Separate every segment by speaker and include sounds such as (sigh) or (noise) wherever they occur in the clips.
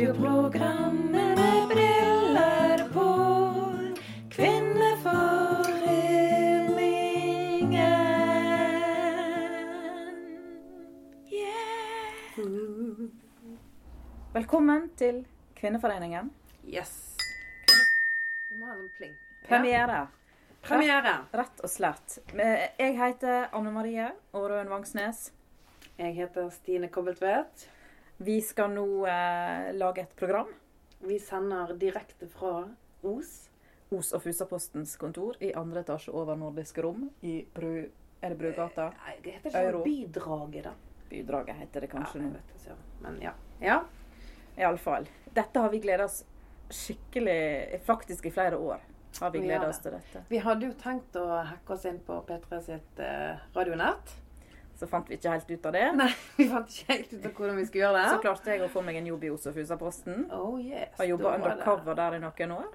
Speaker 1: Radioprogrammet med briller på. Kvinneforeningen. Yeah! Velkommen til Kvinneforeningen.
Speaker 2: Yes. Vi må ha sånn pling.
Speaker 1: Premiere,
Speaker 2: Premiere.
Speaker 1: rett og slett. Eh, Jeg heter Anne Marie Aarøen Vangsnes.
Speaker 2: Jeg heter Stine Kobbeltvedt.
Speaker 1: Vi skal nå eh, lage et program.
Speaker 2: Vi sender direkte fra Os.
Speaker 1: Os- og Fusapostens kontor i andre etasje over nordiske rom i Bru... Er det Brugata?
Speaker 2: Nei, det heter ikke
Speaker 1: Euro.
Speaker 2: sånn bidraget, da.
Speaker 1: Bydraget heter det kanskje
Speaker 2: ja,
Speaker 1: nå.
Speaker 2: jeg vet ikke. Men ja. ja.
Speaker 1: Iallfall. Dette har vi gleda oss skikkelig Faktisk i flere år har vi
Speaker 2: Vi
Speaker 1: gleda
Speaker 2: har
Speaker 1: oss til dette.
Speaker 2: Vi hadde jo tenkt å hacke oss inn på P3 sitt eh, radionett. (laughs)
Speaker 1: Så fant vi ikke helt ut av det.
Speaker 2: Nei, vi fant ikke helt ut av hvordan vi skulle gjøre
Speaker 1: Så (laughs)
Speaker 2: det.
Speaker 1: klarte jeg å få meg en jobb i Os- og Fusaposten.
Speaker 2: Oh yes.
Speaker 1: Har jobba
Speaker 2: da var det-
Speaker 1: undercover der i noen år.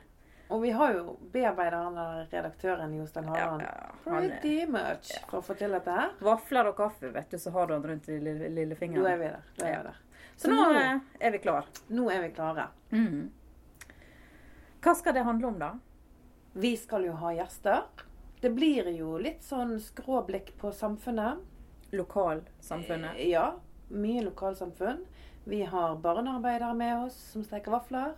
Speaker 2: Og vi har jo bearbeidet han der redaktøren Jostein
Speaker 1: Ja,
Speaker 2: Harland
Speaker 1: ja, han er-
Speaker 2: pretty much for å få til dette her.
Speaker 1: Vafler og kaffe, vet du, så har du han rundt i lille,
Speaker 2: Nå er
Speaker 1: lillefingeren.
Speaker 2: vi der. Da er
Speaker 1: Ja.
Speaker 2: vi der.
Speaker 1: Så nå eh, er vi klar.
Speaker 2: nå er vi klare.
Speaker 1: Mhm. Hva skal det handle om, da?
Speaker 2: Vi skal jo ha gjester. Det blir jo litt sånn skråblikk på samfunnet.
Speaker 1: Lokalsamfunnet.
Speaker 2: Eh, Ja. Mye lokalsamfunn. Vi har barnearbeidere med oss som steker vafler.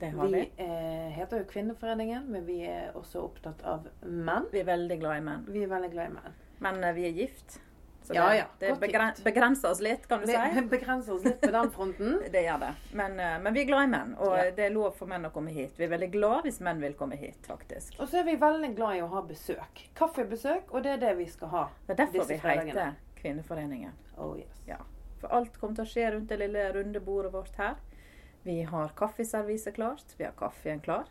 Speaker 1: Det har
Speaker 2: Vi
Speaker 1: vi.
Speaker 2: eh, heter jo Kvinneforeningen, men vi er også opptatt av menn.
Speaker 1: Vi er veldig glad i menn.
Speaker 2: Vi er veldig glad i menn.
Speaker 1: Men eh, vi er gift. Så det,
Speaker 2: Ja, ja.
Speaker 1: det
Speaker 2: Godt
Speaker 1: begren
Speaker 2: gift.
Speaker 1: begrenser oss litt, kan du
Speaker 2: Vi (laughs)
Speaker 1: si.
Speaker 2: vi begrenser oss litt på den fronten.
Speaker 1: Det gjør det. Men, eh, men vi er glad i menn, og
Speaker 2: Ja.
Speaker 1: eh, det er lov for menn å komme hit. Vi er veldig glad hvis menn vil komme hit, faktisk.
Speaker 2: Og så er vi veldig glad i å ha besøk. Kaffebesøk, og det er det vi skal ha.
Speaker 1: Det er derfor
Speaker 2: Disse
Speaker 1: vi
Speaker 2: fredagene.
Speaker 1: heter Kvinneforeningen.
Speaker 2: Oh yes.
Speaker 1: Ja. For alt kommer til å skje rundt det lille runde bordet vårt her. Vi har kaffeserviset klart. Vi har kaffen klar.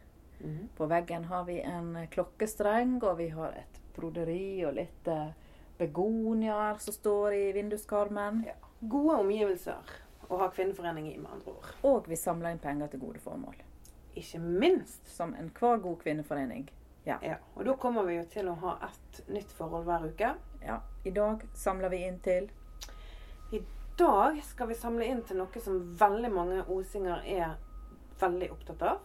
Speaker 2: Mhm.
Speaker 1: På veggen har vi en eh, klokkestreng, og vi har et broderi og litt eh, begoniaer som står i vinduskarmen.
Speaker 2: ja. Gode omgivelser å ha kvinneforening i, med andre ord.
Speaker 1: Og vi samler inn penger til gode formål.
Speaker 2: Ikke minst
Speaker 1: Som enhver god kvinneforening.
Speaker 2: Ja, og da kommer vi jo til å ha ett nytt forhold hver uke.
Speaker 1: Ja. I dag samler vi inn til
Speaker 2: I dag skal vi samle inn til noe som veldig mange osinger er veldig opptatt av.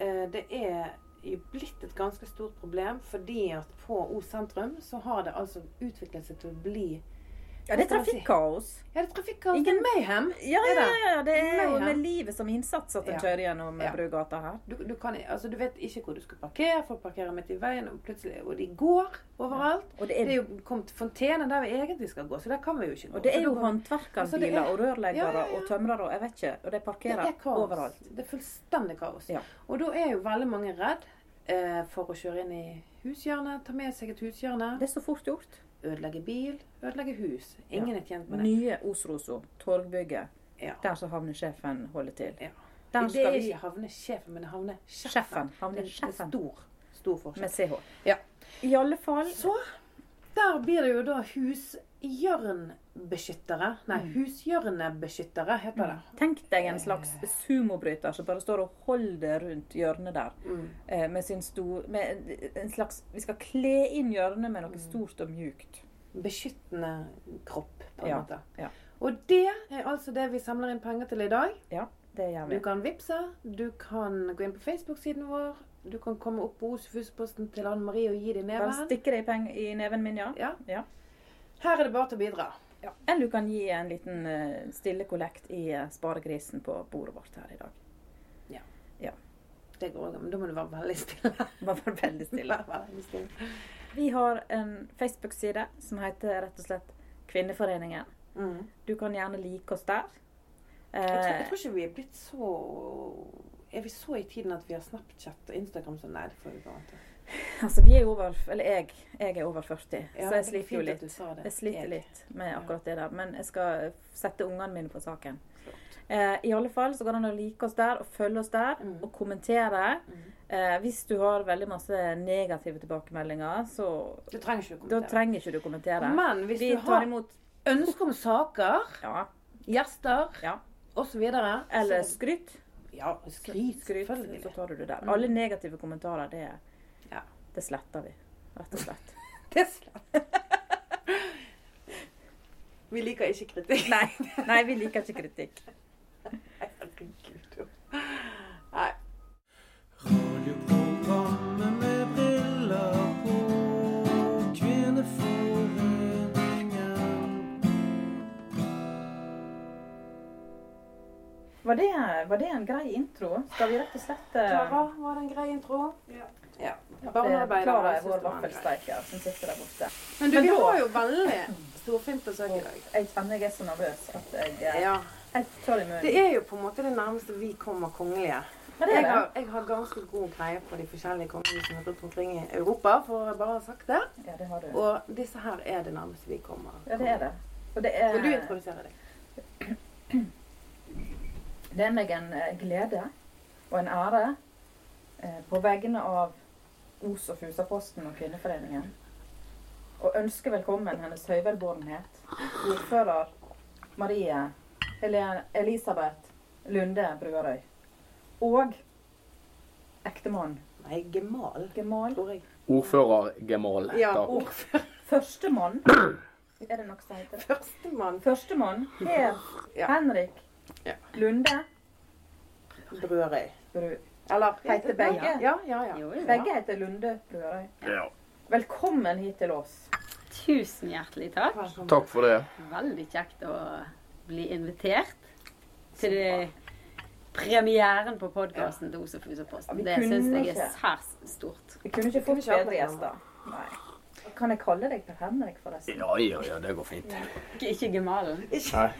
Speaker 2: Eh, Det er jo blitt et ganske stort problem fordi at på Os sentrum så har det altså utviklet seg til å bli
Speaker 1: Ja, det er trafikkaos.
Speaker 2: Ja, det er trafikkaos.
Speaker 1: Ingen-
Speaker 2: mayhem.
Speaker 1: Ja,
Speaker 2: Er
Speaker 1: ja,
Speaker 2: det?
Speaker 1: ja. Det er jo
Speaker 2: Nei, ja.
Speaker 1: med livet som innsats at en
Speaker 2: Ja.
Speaker 1: kjører gjennom
Speaker 2: Ja.
Speaker 1: Brugata her.
Speaker 2: Du, du, kan, altså, du vet ikke hvor du skal parkere, folk parkerer midt i veien, og plutselig Og de går overalt.
Speaker 1: Og det
Speaker 2: Det
Speaker 1: er,
Speaker 2: er jo kommet fontener der vi egentlig skal gå, så der kan vi jo ikke gå.
Speaker 1: og det
Speaker 2: Så
Speaker 1: er
Speaker 2: da
Speaker 1: jo
Speaker 2: går vi- Altså, det
Speaker 1: håndverkerbiler
Speaker 2: er-
Speaker 1: og rørleggere
Speaker 2: Ja, ja, ja.
Speaker 1: og tømrere og jeg vet ikke. Og de
Speaker 2: Det
Speaker 1: parkerer
Speaker 2: er kaos.
Speaker 1: overalt.
Speaker 2: Det er fullstendig kaos.
Speaker 1: Ja.
Speaker 2: Og da er jo veldig mange redd eh, for å kjøre inn i hushjørnet, ta med seg et hushjørne,
Speaker 1: Det er så fort gjort.
Speaker 2: ødelegge bil, ødelegge hus. Ingen er tjent med det.
Speaker 1: Nye Osroso, torgbygget,
Speaker 2: Ja.
Speaker 1: der som havnesjefen holder til.
Speaker 2: Ja.
Speaker 1: Der
Speaker 2: Det
Speaker 1: skal
Speaker 2: er
Speaker 1: vi
Speaker 2: ikke havnesjefen, men havnesjefen.
Speaker 1: Sjefen.
Speaker 2: Det er det er
Speaker 1: Havnesjefen
Speaker 2: stor, stor
Speaker 1: med
Speaker 2: forskjell.
Speaker 1: CH.
Speaker 2: Ja.
Speaker 1: I alle fall
Speaker 2: Så der blir det jo da husjørnbeskyttere. Nei,
Speaker 1: Mm.
Speaker 2: husjørnebeskyttere heter det.
Speaker 1: Tenk deg en slags sumobryter som bare står og holder rundt hjørnet der.
Speaker 2: Mm.
Speaker 1: eh, Med sin stor med en- en slags, Vi skal kle inn hjørnet med noe stort og mjukt.
Speaker 2: beskyttende kropp, på en
Speaker 1: Ja,
Speaker 2: måte.
Speaker 1: ja.
Speaker 2: Og det er altså det vi samler inn penger til i dag.
Speaker 1: Ja, det gjør
Speaker 2: Du
Speaker 1: vi.
Speaker 2: kan vippse, du kan gå inn på Facebook-siden vår, du kan komme opp på Osefusposten til Anne Marie og gi dem
Speaker 1: Bare
Speaker 2: neven.
Speaker 1: stikke det i, peng i neven min, ja.
Speaker 2: Ja.
Speaker 1: Ja.
Speaker 2: Her er det bare til å bidra.
Speaker 1: Eller du kan gi en liten eh, stille kollekt i eh, sparegrisen på bordet vårt her i dag. (laughs)
Speaker 2: Det går også, men da må du være veldig stille. (laughs)
Speaker 1: Bare vær veldig stille.
Speaker 2: Vær veldig stille.
Speaker 1: Vi har en Facebook-side som heter rett og slett Kvinneforeningen.
Speaker 2: Mm.
Speaker 1: Du kan gjerne like oss der.
Speaker 2: Jeg, tror, jeg
Speaker 1: Eh,
Speaker 2: tror ikke vi er blitt så Er vi så i tiden at vi har Snapchat og Instagram som Nei, det får vi bare til.
Speaker 1: altså, vi er jo over Eller jeg, jeg er over 40,
Speaker 2: Ja,
Speaker 1: så jeg
Speaker 2: det er
Speaker 1: sliter jo
Speaker 2: fint at
Speaker 1: litt.
Speaker 2: du sa det.
Speaker 1: Jeg sliter
Speaker 2: Jeg-
Speaker 1: litt med
Speaker 2: Ja.
Speaker 1: akkurat det der, men jeg skal sette ungene mine på saken.
Speaker 2: Flott.
Speaker 1: Eh, I alle fall så går det an å like oss der, og følge oss der,
Speaker 2: Mm.
Speaker 1: og kommentere.
Speaker 2: Mm.
Speaker 1: Eh, hvis du har veldig masse negative tilbakemeldinger, så
Speaker 2: Du trenger ikke å
Speaker 1: da
Speaker 2: kommentere.
Speaker 1: trenger ikke du kommentere.
Speaker 2: Men hvis
Speaker 1: Vi
Speaker 2: du
Speaker 1: tar
Speaker 2: har
Speaker 1: imot
Speaker 2: ønske om saker,
Speaker 1: ja,
Speaker 2: gjester
Speaker 1: Ja.
Speaker 2: osv.
Speaker 1: eller skryt.
Speaker 2: Ja, skryt,
Speaker 1: Skryt,
Speaker 2: selvfølgelig.
Speaker 1: så tar du det der.
Speaker 2: Mm.
Speaker 1: Alle negative kommentarer, det,
Speaker 2: Ja.
Speaker 1: det sletter vi. Rett og slett.
Speaker 2: Det er slett. (laughs) Vi liker ikke kritikk. (laughs)
Speaker 1: Nei, nei vi liker ikke kritikk.
Speaker 2: Herregud.
Speaker 1: Var det, var det en grei intro? Skal vi rett og slett eh,
Speaker 2: Klara, var det en grei intro?
Speaker 3: Ja.
Speaker 2: Ja.
Speaker 1: eh,
Speaker 2: Barnearbeidere
Speaker 1: Klara er
Speaker 2: synes
Speaker 1: vår
Speaker 2: det var en grei.
Speaker 1: vaffelsteiker som sitter der borte.
Speaker 2: Men du,
Speaker 1: Men
Speaker 2: vi
Speaker 1: da-
Speaker 2: har jo veldig storfint besøk i dag.
Speaker 1: Jeg kjenner jeg er så nervøs at jeg, eh,
Speaker 2: Ja.
Speaker 1: jeg tør i
Speaker 2: Det
Speaker 1: munnen.
Speaker 2: er jo på en måte det nærmeste vi kommer kongelige.
Speaker 1: Men det
Speaker 2: Jeg
Speaker 1: er det.
Speaker 2: har, jeg har ganske god greie på de forskjellige kongehusene rundt omkring i Europa, for å bare ha sagt det.
Speaker 1: Ja, det har du.
Speaker 2: Og disse her er det nærmeste vi kommer.
Speaker 1: Ja, det er det. Og det er,
Speaker 2: Vil du introdusere deg?
Speaker 1: det er meg en eh, glede og en ære eh, på vegne av Os og Fusaposten og Kvinneforeningen å ønske velkommen Hennes Høyvelbordenhet, ordfører Marie Helene Elisabeth Lunde Bruarøy og ektemann,
Speaker 2: Nei, gemal,
Speaker 1: gemal,
Speaker 2: tror jeg.
Speaker 3: Ordførergemål.
Speaker 2: Ja,
Speaker 3: da.
Speaker 2: ordfører. (laughs)
Speaker 1: førstemann Er det noe som heter det?
Speaker 2: Førstemann
Speaker 1: Førstemann, Per
Speaker 2: Ja.
Speaker 1: Henrik
Speaker 2: Ja.
Speaker 1: Lunde
Speaker 2: Brødøy.
Speaker 1: Bru.
Speaker 2: Eller
Speaker 1: Heter begge.
Speaker 2: Ja, ja, ja.
Speaker 1: Begge heter Lunde Brødøy.
Speaker 3: Ja.
Speaker 1: Velkommen hit til oss.
Speaker 4: Tusen hjertelig takk.
Speaker 2: Velkommen.
Speaker 3: Takk for det.
Speaker 4: Veldig kjekt å bli invitert til premieren på podkasten til Osef
Speaker 1: Ja,
Speaker 4: Husaposten.
Speaker 1: vi
Speaker 4: Det
Speaker 1: kunne
Speaker 4: syns jeg
Speaker 1: ikke.
Speaker 4: er særs stort.
Speaker 1: Vi kunne ikke
Speaker 2: Kunne
Speaker 1: fått
Speaker 2: ikke hatt
Speaker 1: bedre gjester. Nei. Kan jeg kalle deg Per Henrik, forresten?
Speaker 3: Ja, ja, ja, det går fint.
Speaker 4: Ikke- Ikke gemalen.
Speaker 3: Ja,
Speaker 1: Er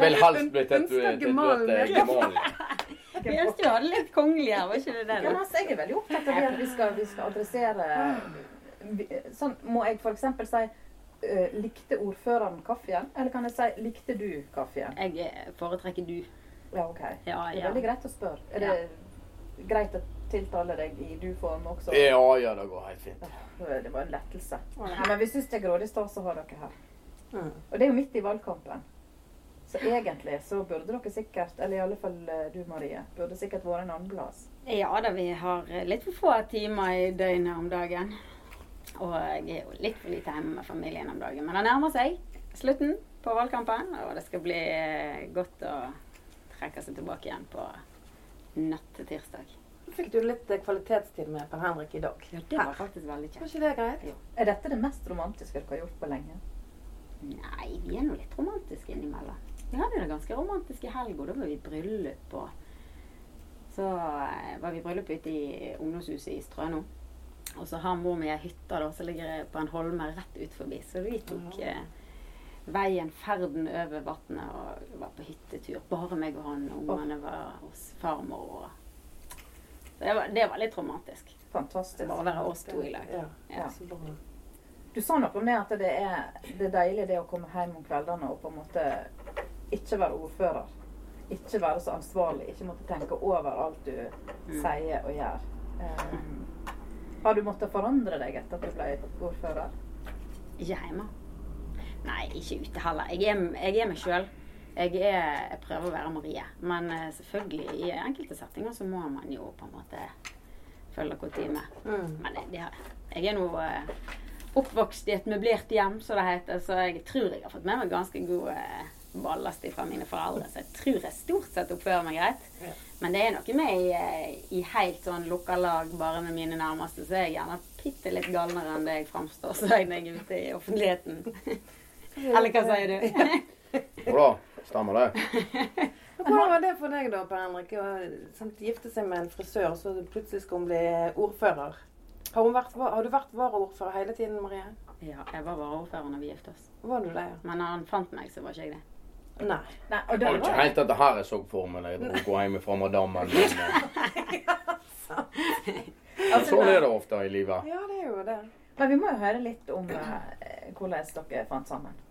Speaker 1: det
Speaker 3: vil helst bli
Speaker 2: Ønsker
Speaker 3: tatuert til
Speaker 2: gemalen
Speaker 3: et
Speaker 2: velkommen.
Speaker 3: gemål.
Speaker 4: Vi
Speaker 1: greit?
Speaker 4: ønsket jo alle litt kongelig her, var ikke det det?
Speaker 1: Ja, men
Speaker 4: da?
Speaker 1: altså, jeg er veldig opptatt av det at vi skal, vi skal adressere vi- Sånn må jeg f.eks. si eh, Likte ordføreren kaffen? Eller kan jeg si likte du kaffen?
Speaker 4: Jeg eh, foretrekker du.
Speaker 1: Ja, OK. Det
Speaker 4: Ja,
Speaker 1: er
Speaker 4: ja.
Speaker 1: veldig greit å spørre. Er det greit å tiltale deg i du-form også?
Speaker 3: Ja, ja, det går helt fint.
Speaker 1: Det var en lettelse.
Speaker 2: Ja.
Speaker 1: Nei, men vi syns det er grådig stas å ha dere her.
Speaker 2: Mm.
Speaker 1: Og det er jo midt i valgkampen. Så egentlig så burde dere sikkert, eller i alle fall eh, du Marie, burde sikkert vært en annen plass.
Speaker 4: Ja da, vi har eh, litt for få timer i døgnet om dagen. Og jeg er jo litt for lite hjemme med familien om dagen. Men det nærmer seg slutten på valgkampen, og det skal bli eh, godt å trekke seg tilbake igjen på natt til tirsdag.
Speaker 2: Fikk du litt eh, kvalitetstid med Per Henrik i dag?
Speaker 4: Ja, det var faktisk veldig
Speaker 2: Var
Speaker 4: kjekt.
Speaker 2: ikke det greit?
Speaker 1: Er dette det mest romantiske dere har gjort på lenge?
Speaker 4: Nei, vi er nå litt romantiske innimellom. Vi hadde det ganske romantisk i helga. Da var vi i bryllup og Så eh, var vi i bryllup ute i ungdomshuset i Strøno. Og så har mor mi ei hytte da, som ligger på en holme rett ut forbi. Så vi tok eh, veien, ferden over vannet og var på hyttetur. Bare meg og han. Ungene var hos farmor. Og... Så det var, det var litt romantisk. Det
Speaker 1: Fantastisk.
Speaker 4: var å være oss to i lag.
Speaker 2: Ja.
Speaker 4: Ja.
Speaker 2: Så bra.
Speaker 1: Du sa noe om det at det er, det er deilig det å komme hjem om kveldene og på en måte ikke være ordfører. Ikke være så ansvarlig, ikke måtte tenke over alt du sier og gjør. Eh, har du måttet forandre deg etter at du ble ordfører?
Speaker 4: Ikke hjemme. Nei, ikke ute heller. Jeg er, jeg er meg sjøl. Jeg, er- jeg prøver å være Marie. Men eh, selvfølgelig, i enkelte settinger så må man jo på en måte følge kutyme.
Speaker 2: Mm.
Speaker 4: Men det, det, har- jeg er nå eh, oppvokst i et møblert hjem, som det heter, så jeg tror jeg har fått med meg ganske god eh, ballast fra mine foreldre. Så jeg tror jeg stort sett oppfører meg greit.
Speaker 2: Ja.
Speaker 4: Men det er noe med i, eh, i helt sånn lukka lag bare med mine nærmeste, så er jeg gjerne bitte litt galnere enn det jeg framstår som når jeg er ute i (laughs) offentligheten. Eller hva sier du?
Speaker 3: Jo da, stemmer det.
Speaker 2: Men Hvordan var det for deg da, Per Henrik, å sant, gifte seg med en frisør, så plutselig skal hun bli ordfører? Har, hun vært, var- har du vært varaordfører hele tiden, Marie?
Speaker 4: (laughs) Ja, jeg var bare ordfører når vi giftet oss.
Speaker 2: Var du det, ja?
Speaker 4: Men når han fant meg, så var ikke jeg det.
Speaker 2: Nei.
Speaker 1: Nei, og
Speaker 3: Det
Speaker 1: det
Speaker 3: var ikke
Speaker 1: var
Speaker 3: helt dette her jeg så for meg da jeg dro gå hjem fra madammen. Men eh,
Speaker 1: altså,
Speaker 3: sånn er det ofte i livet.
Speaker 2: Ja, det er jo det.
Speaker 1: Men vi må jo høre litt om eh, hvordan dere fant sammen.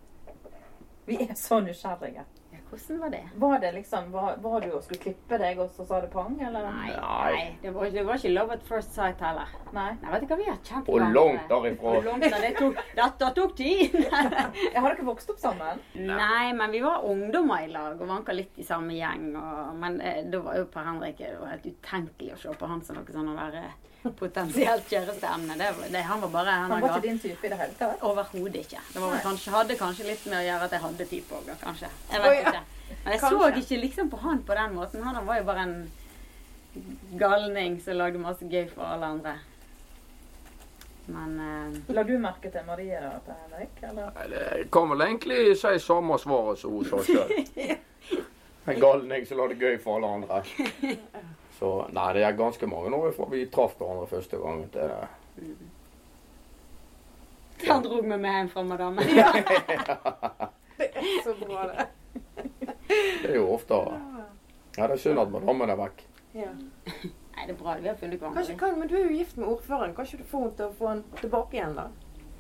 Speaker 1: Vi er så nysgjerrige.
Speaker 4: Ja, hvordan var det?
Speaker 1: Var det liksom, var, var du og skulle klippe deg, og så sa det pang, eller?
Speaker 4: Nei,
Speaker 3: Nei.
Speaker 4: nei. Det, var, det var ikke love at first sight heller.
Speaker 1: Nei.
Speaker 4: Nei, vet du hva vi har kjent
Speaker 3: Og
Speaker 4: hverandre.
Speaker 3: langt derifra.
Speaker 4: Og langt der. Det tok, dette tok tid! (laughs)
Speaker 1: Jeg har dere vokst opp sammen?
Speaker 4: Nei, men vi var ungdommer i lag og vanka litt i samme gjeng. Og, men eh, da var jo Per Henrik eh, det var helt utenkelig å se på han som noe sånn å være potensielt kjæresteemne. Det, var- det, han var bare
Speaker 1: Han var ikke
Speaker 4: ga
Speaker 1: din type i det hele tatt?
Speaker 4: Overhodet ikke. Det var vel kanskje, hadde kanskje litt med å gjøre at jeg hadde type òg, kanskje. Jeg
Speaker 2: Å,
Speaker 4: vet
Speaker 2: ja.
Speaker 4: ikke. Men jeg
Speaker 2: Kanskje.
Speaker 4: så ikke liksom på han på den måten. Han var jo bare en galning som lagde masse gøy for alle andre. Men eh,
Speaker 1: La du merke til Marie da, Per Henrik? Eller? (laughs)
Speaker 3: Nei, Det kan vel egentlig si samme svaret som hun sa sjøl. En galen jeg som la det gøy for alle andre. Så nei, det er ganske mange år fra vi traff hverandre første gang. til det.
Speaker 4: Han dro meg med hjem fra (laughs) madame.
Speaker 2: Det er så (laughs) bra, det.
Speaker 3: Det er jo ofte Ja, det er synd at madammen er vekk.
Speaker 2: Ja.
Speaker 4: Nei, det er bra vi har funnet
Speaker 2: Kanskje,
Speaker 4: hverandre.
Speaker 2: kan, men du er jo gift med ordføreren. Kan ikke du få henne til å få han tilbake igjen, da?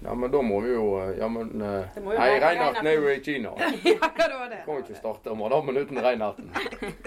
Speaker 3: Ja, men da må vi jo eh, Ja, men eh,
Speaker 4: Det må jo
Speaker 3: Nei,
Speaker 4: være
Speaker 3: Reinharten er jo i
Speaker 4: Reinharten.
Speaker 3: Kina.
Speaker 2: Ja, det var det.
Speaker 3: Kan jo ikke starte madammen uten Reinharten.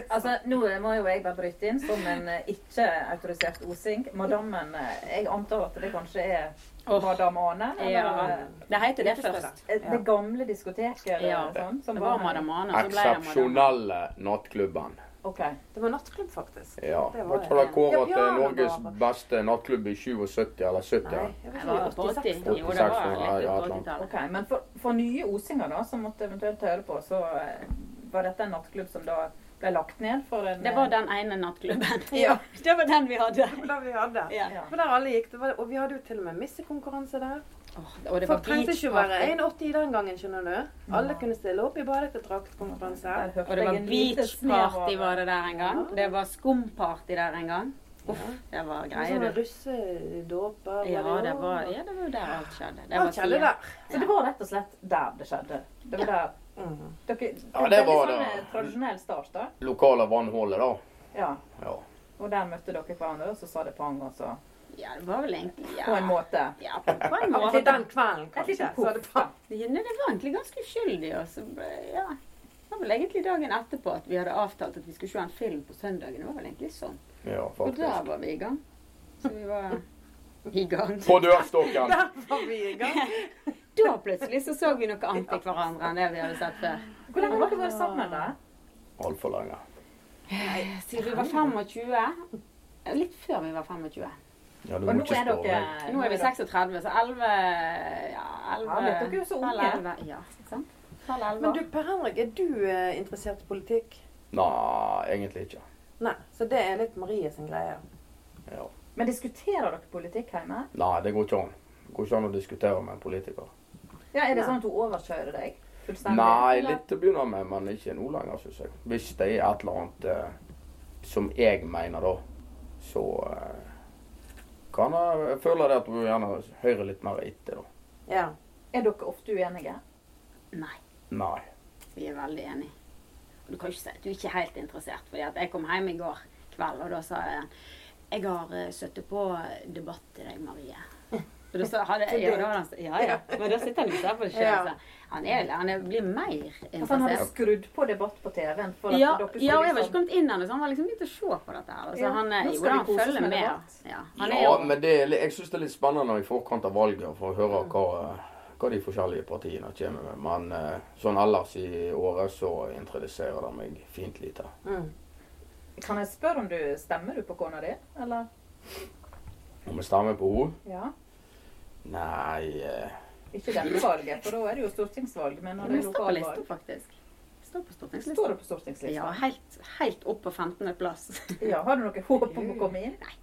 Speaker 1: Altså, Nå må jo jeg bare bryte inn som en eh, ikke-autorisert osing. Madammen eh, Jeg antar at det kanskje er Madam Ane? eller,
Speaker 4: Ja. Det heter det
Speaker 2: Utestedet.
Speaker 4: først.
Speaker 1: eh, Det gamle diskoteket? eller
Speaker 4: Ja.
Speaker 1: Sånn, som
Speaker 4: Det var
Speaker 1: her.
Speaker 4: Madame Ane, og så ble det Madame
Speaker 3: Eksepsjonelle nattklubben.
Speaker 1: Ok.
Speaker 2: Det var nattklubb, faktisk.
Speaker 3: Ja.
Speaker 2: Det var
Speaker 3: Var ikke det
Speaker 2: det. Ja,
Speaker 3: kåret til
Speaker 2: piano
Speaker 3: Norges
Speaker 2: bare.
Speaker 3: beste nattklubb i 77 eller 70?
Speaker 2: Nei,
Speaker 3: ja.
Speaker 2: jeg
Speaker 4: Nei,
Speaker 2: vet
Speaker 4: var
Speaker 2: ikke.
Speaker 4: det på 80?
Speaker 2: 86. da.
Speaker 4: Jo, det var
Speaker 3: 86, ja,
Speaker 4: litt
Speaker 3: ja,
Speaker 4: på 80-tallet.
Speaker 1: ok. Men for, for nye osinger da, som måtte eventuelt høre på, så eh, var dette en nattklubb som da ble lagt ned for en
Speaker 4: Det var den ene nattklubben.
Speaker 2: Ja.
Speaker 4: (laughs) Det var den vi hadde.
Speaker 2: Det var da vi hadde.
Speaker 4: Ja.
Speaker 1: eh, Ja.
Speaker 2: Det var der alle gikk. Det var, og vi hadde jo til og med missekonkurranse der.
Speaker 4: Åh, Og det var
Speaker 2: Folk trengte ikke å være
Speaker 4: beachparty.
Speaker 2: 1,80 den gangen, skjønner du. Alle kunne stille opp i badedraktkonkurranse.
Speaker 1: Der hørte
Speaker 4: Og det
Speaker 1: jeg
Speaker 4: var
Speaker 1: en liten snev
Speaker 4: beachparty
Speaker 1: av-
Speaker 4: var det der en gang.
Speaker 2: Ja.
Speaker 4: Det var skumparty der en gang. Uff, det var greier,
Speaker 2: Sånne
Speaker 4: du.
Speaker 2: russedåper. var
Speaker 4: Ja,
Speaker 2: jo.
Speaker 4: det var, ja, det var jo der alt skjedde. Det
Speaker 2: Alt skjedde
Speaker 4: tida.
Speaker 2: der.
Speaker 1: Så det var rett og slett der det skjedde. Det var der.
Speaker 2: Mm.
Speaker 1: Dere,
Speaker 3: Ja, det
Speaker 1: veldig
Speaker 3: var
Speaker 1: sånn,
Speaker 3: det.
Speaker 1: eh, Tradisjonell start, da.
Speaker 3: Lokale vannhullet, da.
Speaker 1: Ja.
Speaker 3: Ja.
Speaker 1: Og der møtte dere hverandre, og så sa det pang, og så
Speaker 4: Ja, det var vel egentlig ja.
Speaker 1: På en måte.
Speaker 4: Ja, på på
Speaker 2: (laughs)
Speaker 4: en
Speaker 2: Til
Speaker 4: måte.
Speaker 2: den kvelden,
Speaker 1: Et
Speaker 2: kanskje.
Speaker 1: lite
Speaker 2: Så det
Speaker 1: puff,
Speaker 2: var
Speaker 1: da.
Speaker 4: Ja, nei, det var egentlig ganske uskyldig. Og så ble, ja. Det var vel egentlig dagen etterpå at vi hadde avtalt at vi skulle se en film på søndagen. Det var vel egentlig sånn.
Speaker 3: ja,
Speaker 4: Og der
Speaker 3: faktisk.
Speaker 4: var vi i gang. Så vi var i gang.
Speaker 3: (laughs) På dørstokken.
Speaker 2: Der var vi i
Speaker 4: (laughs)
Speaker 2: gang.
Speaker 4: Da plutselig så så vi noe annet i hverandre enn det vi hadde sett før.
Speaker 1: Hvor lenge har dere vært sammen, da?
Speaker 3: Altfor lenge.
Speaker 4: Siden vi var 25 ja, Litt før vi var 25.
Speaker 3: Ja, du
Speaker 1: Og
Speaker 3: må
Speaker 1: nå
Speaker 3: ikke
Speaker 1: er
Speaker 3: spørre
Speaker 1: dere
Speaker 3: meg.
Speaker 4: Nå er vi 36, så 11 Ja, 11
Speaker 1: Ja, dere er jo så unge.
Speaker 4: Halv 11, ja, ikke sant? Halv 11.
Speaker 2: Men du, Per Henrik, er du eh, interessert i politikk?
Speaker 3: Nei, egentlig ikke.
Speaker 2: Nei, så det er litt Marie sin greie.
Speaker 3: Ja.
Speaker 1: Men diskuterer dere politikk hjemme?
Speaker 3: Nei, det går ikke an. Det går ikke an å diskutere med en politiker.
Speaker 1: Ja, Er det sånn at hun overkjører deg? fullstendig?
Speaker 3: Nei,
Speaker 1: Eller-
Speaker 3: litt til å begynne med, men ikke nå lenger, syns jeg. Hvis det er et eller annet eh, som jeg mener, da, så eh, kan jeg, jeg føler det at du gjerne hører litt mer etter, da.
Speaker 2: Ja.
Speaker 1: Er dere ofte uenige?
Speaker 4: Nei,
Speaker 3: Nei.
Speaker 4: vi er veldig enige. Og du kan ikke si at du er ikke helt interessert. fordi at jeg kom hjem i går kveld, og da sa jeg Jeg har eh, sittet på debatt til deg, Marie. Og da sa-
Speaker 1: (laughs)
Speaker 4: hadde jeg, ja, da hadde han sagt, ja, ja. Men da sitter han jo der på det sjøl.
Speaker 2: Ja.
Speaker 4: Han, er, han er, blir mer
Speaker 1: Altså, han hadde
Speaker 4: interessert.
Speaker 1: skrudd på debatt på TV-en for at
Speaker 4: Ja,
Speaker 1: dere skulle
Speaker 4: ja, og jeg var
Speaker 1: liksom
Speaker 4: ikke kommet inn ennå, så han var liksom begynt å se på dette her. Så
Speaker 1: Ja,
Speaker 4: han, eh,
Speaker 1: nå
Speaker 4: jo,
Speaker 1: skal
Speaker 4: da,
Speaker 1: vi
Speaker 4: han
Speaker 1: kose oss
Speaker 4: følger
Speaker 1: med
Speaker 4: med.
Speaker 1: debatt.
Speaker 4: Ja, han er
Speaker 3: Ja,
Speaker 4: jo
Speaker 3: men det, er li- jeg syns det er litt spennende i forkant av valget for å høre hva, eh, hva de forskjellige partiene kommer med. Men eh, sånn ellers i året så introduserer det meg fint lite.
Speaker 2: Mm.
Speaker 1: Kan jeg spørre om du stemmer du på kona di, eller?
Speaker 3: Om jeg stemmer på henne?
Speaker 1: Ja.
Speaker 3: Nei eh,
Speaker 1: Ikke dette valget, for da er det jo stortingsvalg. Men når det
Speaker 4: Vi
Speaker 1: er
Speaker 4: står på lista,
Speaker 1: lokalvalg,
Speaker 4: faktisk. Står på
Speaker 1: står
Speaker 4: stortingslista.
Speaker 1: det på stortingslista.
Speaker 4: Ja, helt, helt opp på 15. plass.
Speaker 1: (laughs) Ja, Har du noe håp om å komme inn?
Speaker 4: (laughs)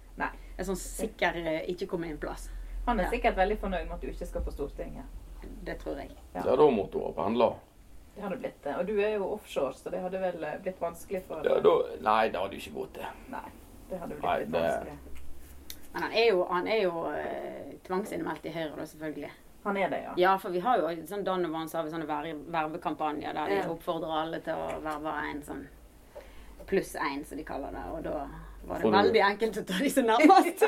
Speaker 4: En sånn sikker eh, ikke komme inn-plass.
Speaker 1: Han er
Speaker 4: Ja.
Speaker 1: sikkert veldig fornøyd med at du ikke skal på Stortinget.
Speaker 4: Det tror jeg.
Speaker 1: Ja.
Speaker 3: ja, da måtte hun ha pendla.
Speaker 1: Det hadde blitt det. Og du er jo offshore, så det hadde vel eh, blitt vanskelig for
Speaker 3: Ja, da- nei, det hadde jo ikke gått, det.
Speaker 1: Nei, det hadde blitt
Speaker 3: Nei,
Speaker 1: litt
Speaker 3: det-
Speaker 1: vanskelig.
Speaker 4: Men han er jo, han er jo eh, tvangsinnmeldt i Høyre, da, selvfølgelig.
Speaker 1: Han er det, ja.
Speaker 4: Ja, for vi har jo sånn Donovan så har vi sånne verve- vervekampanjer der de
Speaker 2: Ja.
Speaker 4: oppfordrer alle til å verve en sånn pluss én, som de kaller det. Og da var
Speaker 3: Får
Speaker 4: det
Speaker 3: du-
Speaker 4: veldig enkelt å ta de som nærmest.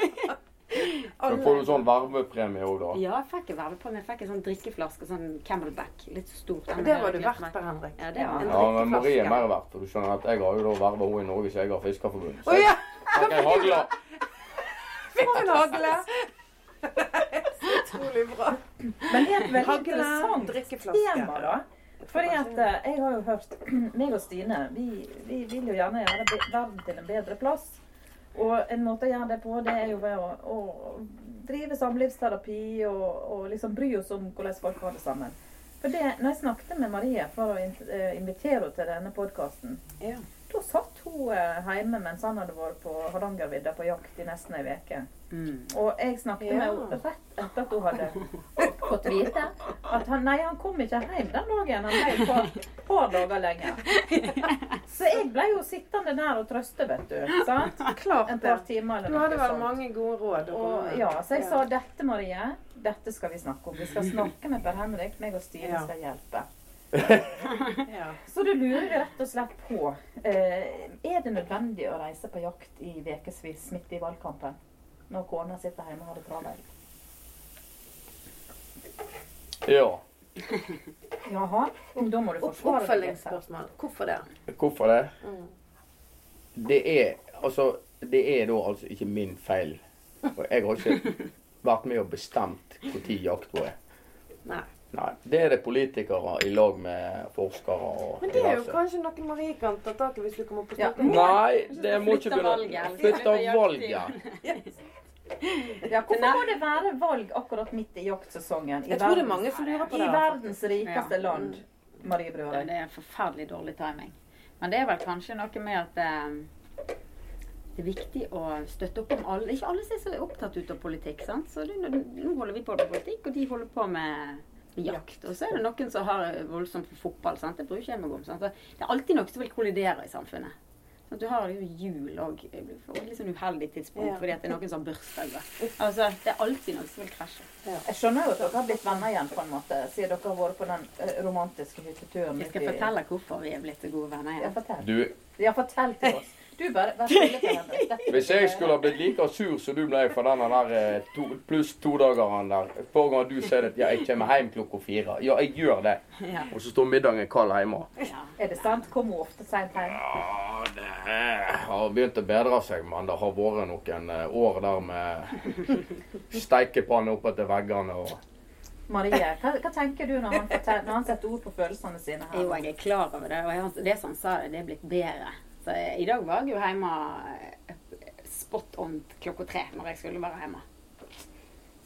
Speaker 3: Men får du sånn vervepremie òg, da?
Speaker 4: ja, jeg fikk en verve på meg. Jeg fikk en sånn drikkeflaske, sånn Camelback. Litt så stort.
Speaker 2: Det var du verdt, Per Henrik.
Speaker 4: Ja, det var
Speaker 2: En
Speaker 4: han.
Speaker 3: Ja, men Marie er
Speaker 2: drikkeflaske.
Speaker 3: mer verdt. For du skjønner at jeg har jo da verva henne i Norges Jeger- og Fiskerforbund.
Speaker 2: Å ja!
Speaker 3: Tenk, jeg hagler.
Speaker 2: Fikk du en hagle? Utrolig bra.
Speaker 1: Men det er et veldig
Speaker 2: Hagle,
Speaker 1: interessant tema,
Speaker 2: drikkeflaske.
Speaker 1: da. Fordi at
Speaker 2: sånn
Speaker 1: eh, jeg har jo hørt (clears throat) meg og Stine, vi, vi vil jo gjerne gjøre be- verden til en bedre plass. Og en måte å gjøre det på, det er jo ved å, å drive samlivsterapi og, og liksom bry oss om hvordan folk har det sammen. For det, når jeg snakket med Marie for å in eh, invitere henne til denne podkasten,
Speaker 2: Ja.
Speaker 1: da satt hun eh, hjemme mens han hadde vært på Hardangervidda på jakt i nesten ei uke.
Speaker 4: Mm.
Speaker 1: Og jeg snakket med
Speaker 2: Ja.
Speaker 1: henne rett etter at hun
Speaker 2: (laughs)
Speaker 1: hadde fått vite
Speaker 2: (laughs)
Speaker 1: at han, nei, han kom ikke hjem den dagen. Han ble et par, par dager lenger. Så jeg ble jo sittende der og trøste, vet du. Sant?
Speaker 4: eh,
Speaker 2: Klart
Speaker 1: En
Speaker 2: det.
Speaker 1: par timer eller
Speaker 2: Du hadde vel
Speaker 1: sånt.
Speaker 2: mange gode råd. å komme
Speaker 1: Og,
Speaker 2: med.
Speaker 1: ja, så jeg sa dette, Marie, dette skal vi snakke om. Vi skal snakke med Per Henrik. Meg og Stine
Speaker 2: Ja.
Speaker 1: skal hjelpe.
Speaker 2: ja.
Speaker 1: Så du lurer jeg rett og slett på eh, Er det nødvendig å reise på jakt i ukevis midt i valgkampen? Når kona sitter hjemme og har det travelt?
Speaker 3: Ja.
Speaker 1: Jaha? Og da må du
Speaker 2: Opp-
Speaker 1: forsvare deg. litt.
Speaker 2: Oppfølgingsspørsmål. Hvorfor det?
Speaker 3: Hvorfor det?
Speaker 2: Mm.
Speaker 3: Det er altså Det er da altså ikke min feil. Og jeg har ikke vært med og bestemt når jakta er.
Speaker 2: Nei.
Speaker 3: Nei. Det er det politikere i lag med forskere og
Speaker 2: Men det er jo
Speaker 3: diverse.
Speaker 2: kanskje noe Marie kan ta tak i hvis du kommer på
Speaker 1: Ja.
Speaker 2: Stortinget.
Speaker 3: Nei, det må ikke
Speaker 4: Flytte
Speaker 3: begynne Flytte
Speaker 4: valget. Flytte
Speaker 3: valget.
Speaker 1: Ja, hvorfor må det være valg akkurat midt i jaktsesongen? I
Speaker 2: Jeg tror det er
Speaker 1: verdens-
Speaker 2: mange som lurer på
Speaker 1: I
Speaker 2: det.
Speaker 1: verdens rikeste
Speaker 4: Ja.
Speaker 1: land, Marie
Speaker 4: Ja,
Speaker 1: Brødre.
Speaker 4: det er forferdelig dårlig timing. Men det er vel kanskje noe med at eh, det er viktig å støtte opp om alle. Ikke alle som er så opptatt ut av politikk. sant? Så det, Nå holder vi på med politikk, og de holder på med med jakt. Og så er det noen som har eh, voldsomt for fotball. sant? Det bryr ikke jeg meg om. sant? Så Det er alltid noe som vil kollidere i samfunnet. Så du har jo jul òg på et litt sånn uheldig tidspunkt
Speaker 2: Ja.
Speaker 4: fordi at det er noen som har bursdag. da. Altså, det er alltid noe som vil krasje.
Speaker 1: Jeg skjønner jo at dere har blitt venner igjen, på en måte, siden dere har vært på den eh, romantiske hytteturen.
Speaker 4: Jeg skal
Speaker 1: ute i-
Speaker 4: fortelle hvorfor vi er blitt så gode venner
Speaker 1: Ja,
Speaker 4: igjen.
Speaker 1: fortell.
Speaker 3: Du,
Speaker 1: Ja, fortell til
Speaker 4: (laughs)
Speaker 1: oss. Du bare, vær stille for henne. Dette-
Speaker 3: hvis jeg skulle ha blitt like sur som du ble for den der eh, to, pluss to dager han der Forrige gang du sier at ja, jeg kommer hjem klokka fire. Ja, jeg gjør det.
Speaker 4: Ja.
Speaker 3: Og så står middagen kald hjemme.
Speaker 4: Ja.
Speaker 1: Er det sant? Kommer hun ofte seint hjem?
Speaker 3: Ja, det har begynt å bedre seg, men det har vært noen eh, år der med steikepanne oppetter veggene og
Speaker 1: Marie, hva, hva tenker du når han, fortell, når han setter ord på følelsene sine her?
Speaker 4: Jo, jeg er klar over det. Og jeg, har- det som han sa, det, det er blitt bedre. Så jeg, I dag var jeg jo hjemme eh, spot on klokka tre når jeg skulle være hjemme.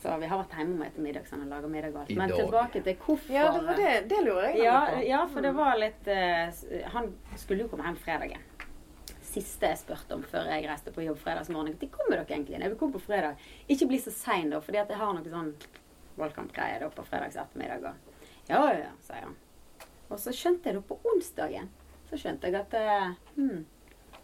Speaker 4: Så vi har vært hjemme med ettermiddag, så han har laga middag og alt.
Speaker 3: I
Speaker 4: Men
Speaker 3: dag.
Speaker 4: tilbake til hvorfor
Speaker 2: Ja, det var det. Det lurer jeg Mm.
Speaker 4: Ja,
Speaker 2: på.
Speaker 4: ja, for det var litt eh, s- Han skulle jo komme hjem fredagen. Siste jeg spurte om før jeg reiste på jobb fredagsmorgen. Når kommer dere egentlig? Når vi kom på fredag. Ikke bli så sein, da, fordi at jeg har noe sånn valgkampgreier da på fredags ettermiddag. Og, ja, ja, ja, sier han. Og så skjønte jeg det på onsdagen. Så skjønte jeg at eh, hm,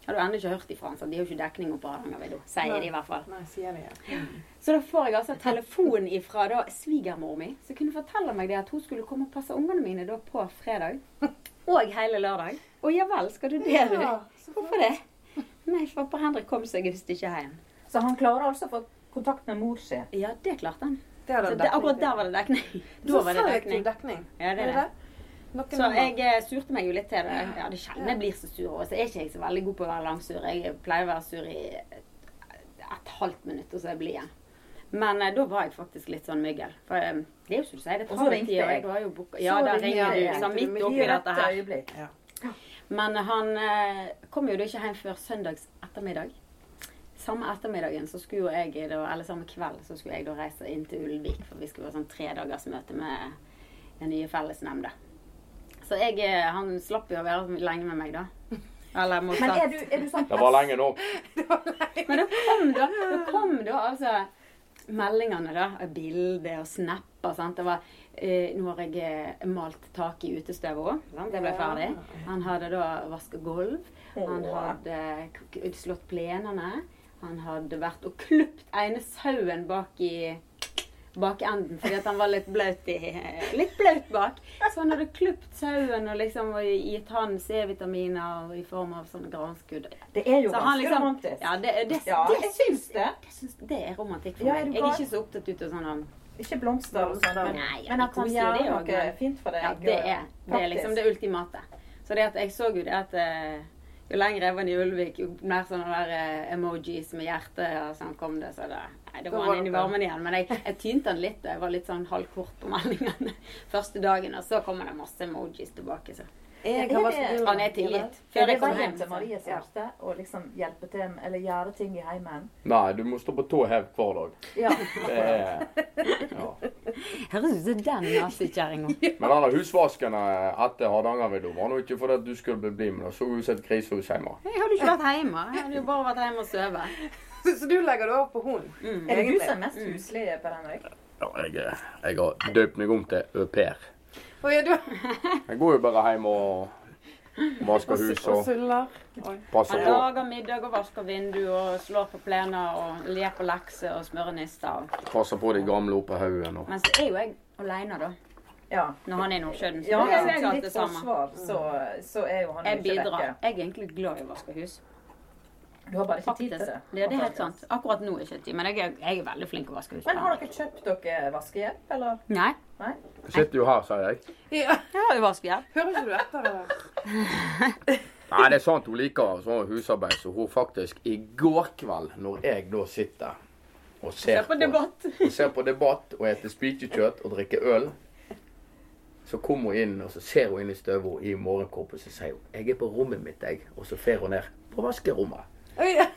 Speaker 4: Har du ennå ikke hørt ifra han, så de har jo ikke dekning oppe på Hardangervidda. Sier de i hvert fall.
Speaker 2: Nei, sier det. ja.
Speaker 4: Så da får jeg altså telefon ifra da svigermor mi, som kunne fortelle meg det at hun skulle komme og passe ungene mine da på fredag. (laughs) Og hele lørdag. Å ja vel, skal du det, du?
Speaker 2: Ja, så bra.
Speaker 4: Hvorfor det? Nei, pappa Henrik kom seg visst ikke hjem.
Speaker 1: Så han klarer altså å få kontakt med mor si.
Speaker 4: Ja, det klarte han.
Speaker 2: Det hadde
Speaker 4: Så
Speaker 2: en
Speaker 4: det,
Speaker 2: dekning
Speaker 4: akkurat
Speaker 2: til.
Speaker 4: der var det dekning.
Speaker 2: Så
Speaker 4: Da var det
Speaker 2: selektiv
Speaker 4: dekning.
Speaker 2: dekning.
Speaker 4: Ja, det er det.
Speaker 2: Noen
Speaker 4: Så
Speaker 2: har-
Speaker 4: jeg eh, surte meg jo litt til det. Ja, det kjenner jeg blir så sur. Og så er ikke jeg så veldig god på å være langsur. Jeg pleier å være sur i et, et halvt minutt, og så er jeg blid igjen. Men eh, da var jeg faktisk litt sånn myggel. For eh, det er jo som du sier, det
Speaker 1: Og
Speaker 4: tar
Speaker 1: så
Speaker 4: litt
Speaker 1: ringte
Speaker 4: tid. Og
Speaker 1: jeg.
Speaker 4: jeg var jo boka. Ja,
Speaker 1: Så
Speaker 4: da
Speaker 1: ringte
Speaker 4: ringer
Speaker 1: jeg.
Speaker 4: du sånn midt
Speaker 1: I
Speaker 4: oppi
Speaker 1: rett
Speaker 4: dette her.
Speaker 1: øyeblikk.
Speaker 4: Men han eh, kom jo da ikke hjem før søndags ettermiddag. Samme ettermiddagen så skulle jo jeg, da, eller samme kveld, så skulle jeg da reise inn til Ulvik, for vi skulle ha sånn tredagersmøte med den nye fellesnemnda. Så jeg, eh, han slapp jo å være lenge med meg, da. Eller
Speaker 1: Men er
Speaker 4: motsatt.
Speaker 1: du, er du sånn
Speaker 3: Det var lenge nok.
Speaker 4: Men da kom da, da, kom da altså meldingene, da. av Bilder og snapper. sant? Det var eh, Nå har jeg eh, malt taket i utestøvet òg. Det ble ferdig. Han hadde da vaska gulv. Han
Speaker 1: Åh.
Speaker 4: hadde k- slått plenene. Han hadde vært og klipt ene sauen bak i bakenden fordi at han var litt blaut i Litt blaut bak. Så han hadde klipt sauen og liksom og gitt han C-vitaminer og i form av sånne granskudd.
Speaker 1: Det er jo
Speaker 4: Så han
Speaker 1: ganske
Speaker 4: liksom
Speaker 1: romantisk.
Speaker 4: Ja, det, det,
Speaker 1: Ja,
Speaker 4: det,
Speaker 1: jeg syns det.
Speaker 4: jeg syns det er romantikk for
Speaker 1: Ja, er du
Speaker 4: meg. Jeg er
Speaker 1: glad?
Speaker 4: ikke så opptatt ut av sånn um,
Speaker 1: Ikke blomster og sånn, men,
Speaker 4: Nei, ja,
Speaker 1: men at han
Speaker 4: det koser jo
Speaker 1: gjør
Speaker 4: det
Speaker 1: noe
Speaker 4: også, men-
Speaker 1: fint for deg.
Speaker 4: Ja, det er,
Speaker 1: og
Speaker 4: det er liksom det
Speaker 1: praktisk.
Speaker 4: ultimate. Så det at jeg så jo det at eh, jo lenger jeg var i Ulvik, jo mer sånne der eh, emojis med hjerte og sånn kom det. Så det, nei,
Speaker 2: Da
Speaker 4: da
Speaker 2: var
Speaker 4: var han inn i
Speaker 2: det-
Speaker 4: varmen igjen. Men jeg, jeg tynte han litt, og jeg var litt sånn halvkort på (laughs) meldingene første dagen. Og så kommer det masse emojis tilbake, så
Speaker 2: Jeg
Speaker 1: Er
Speaker 2: har
Speaker 1: det-
Speaker 2: vært
Speaker 4: han er tilgitt.
Speaker 1: Ja,
Speaker 4: Før
Speaker 1: det
Speaker 4: jeg
Speaker 1: var
Speaker 4: kom hjem.
Speaker 1: hjem til Marie som
Speaker 2: Ja.
Speaker 1: ofte, å liksom hjelpe til med- eller gjøre ting i heimen.
Speaker 3: Nei, du må stå på tå hev hver dag.
Speaker 1: Ja.
Speaker 3: Det er, ja.
Speaker 4: Høres ut som den (laughs) nazikjerringa.
Speaker 3: Men den der husvasken eh, etter Hardangervidda var nå ikke fordi at du skulle bli blid, men det så ut som et grisehus hjemme.
Speaker 4: Jeg hadde jo ikke vært hjemme. Jeg hadde jo bare vært hjemme og sove.
Speaker 2: (laughs) Så du legger det over på hun?
Speaker 4: Mm.
Speaker 1: Er det du
Speaker 2: Egentlig.
Speaker 1: som er mest huslig, Per Henrik?
Speaker 3: Ja, jeg, eh, jeg har døpt meg om til au pair.
Speaker 2: Å, ja, du...
Speaker 3: Jeg går jo bare hjem og Vasker
Speaker 2: Og
Speaker 3: hus
Speaker 2: su- og
Speaker 3: og
Speaker 2: suller. Oi.
Speaker 3: passer
Speaker 4: Han
Speaker 3: på.
Speaker 4: lager middag og vasker vinduer og slår på plener og ler på lekser og smører nister. og-
Speaker 3: Passer på de gamle oppe på haugen. Og.
Speaker 4: Men så er jo jeg aleine, da.
Speaker 1: Ja.
Speaker 4: Når han er i Nordsjøen. Så
Speaker 1: ja
Speaker 4: det
Speaker 1: hvis
Speaker 4: er
Speaker 1: jeg
Speaker 4: jo
Speaker 1: er
Speaker 4: alt
Speaker 1: litt
Speaker 4: det samme. Mm.
Speaker 1: forsvar, så, så er jo han
Speaker 4: Jeg
Speaker 1: ikke
Speaker 4: bidrar.
Speaker 1: vekke.
Speaker 4: Jeg er egentlig glad i å vaske hus.
Speaker 1: Du har bare ikke tid til
Speaker 4: Faktisk.
Speaker 1: det.
Speaker 4: Ja, det er helt sant. Akkurat nå er ikke tid, men jeg er, jeg er veldig flink til å vaske hus.
Speaker 1: Men har dere kjøpt dere vaskehjelp, eller?
Speaker 4: Nei.
Speaker 1: Nei?
Speaker 3: Sitter jo her, sier jeg.
Speaker 2: Ja.
Speaker 4: Jeg har jo vaskehjelp.
Speaker 2: (laughs) Hører ikke du etter? eller?
Speaker 3: Nei, det er sant hun liker sånn husarbeid, så hun faktisk i går kveld, når jeg da sitter og ser
Speaker 4: Se på debatt.
Speaker 3: og ser på debatt og spiser spikekjøtt og drikker øl. Så kommer hun inn, og så ser hun inn i støvet i morgenkåpen, så sier hun 'Jeg er på rommet mitt, jeg.' Og så fer hun ned på vaskerommet.
Speaker 2: Oi, ja.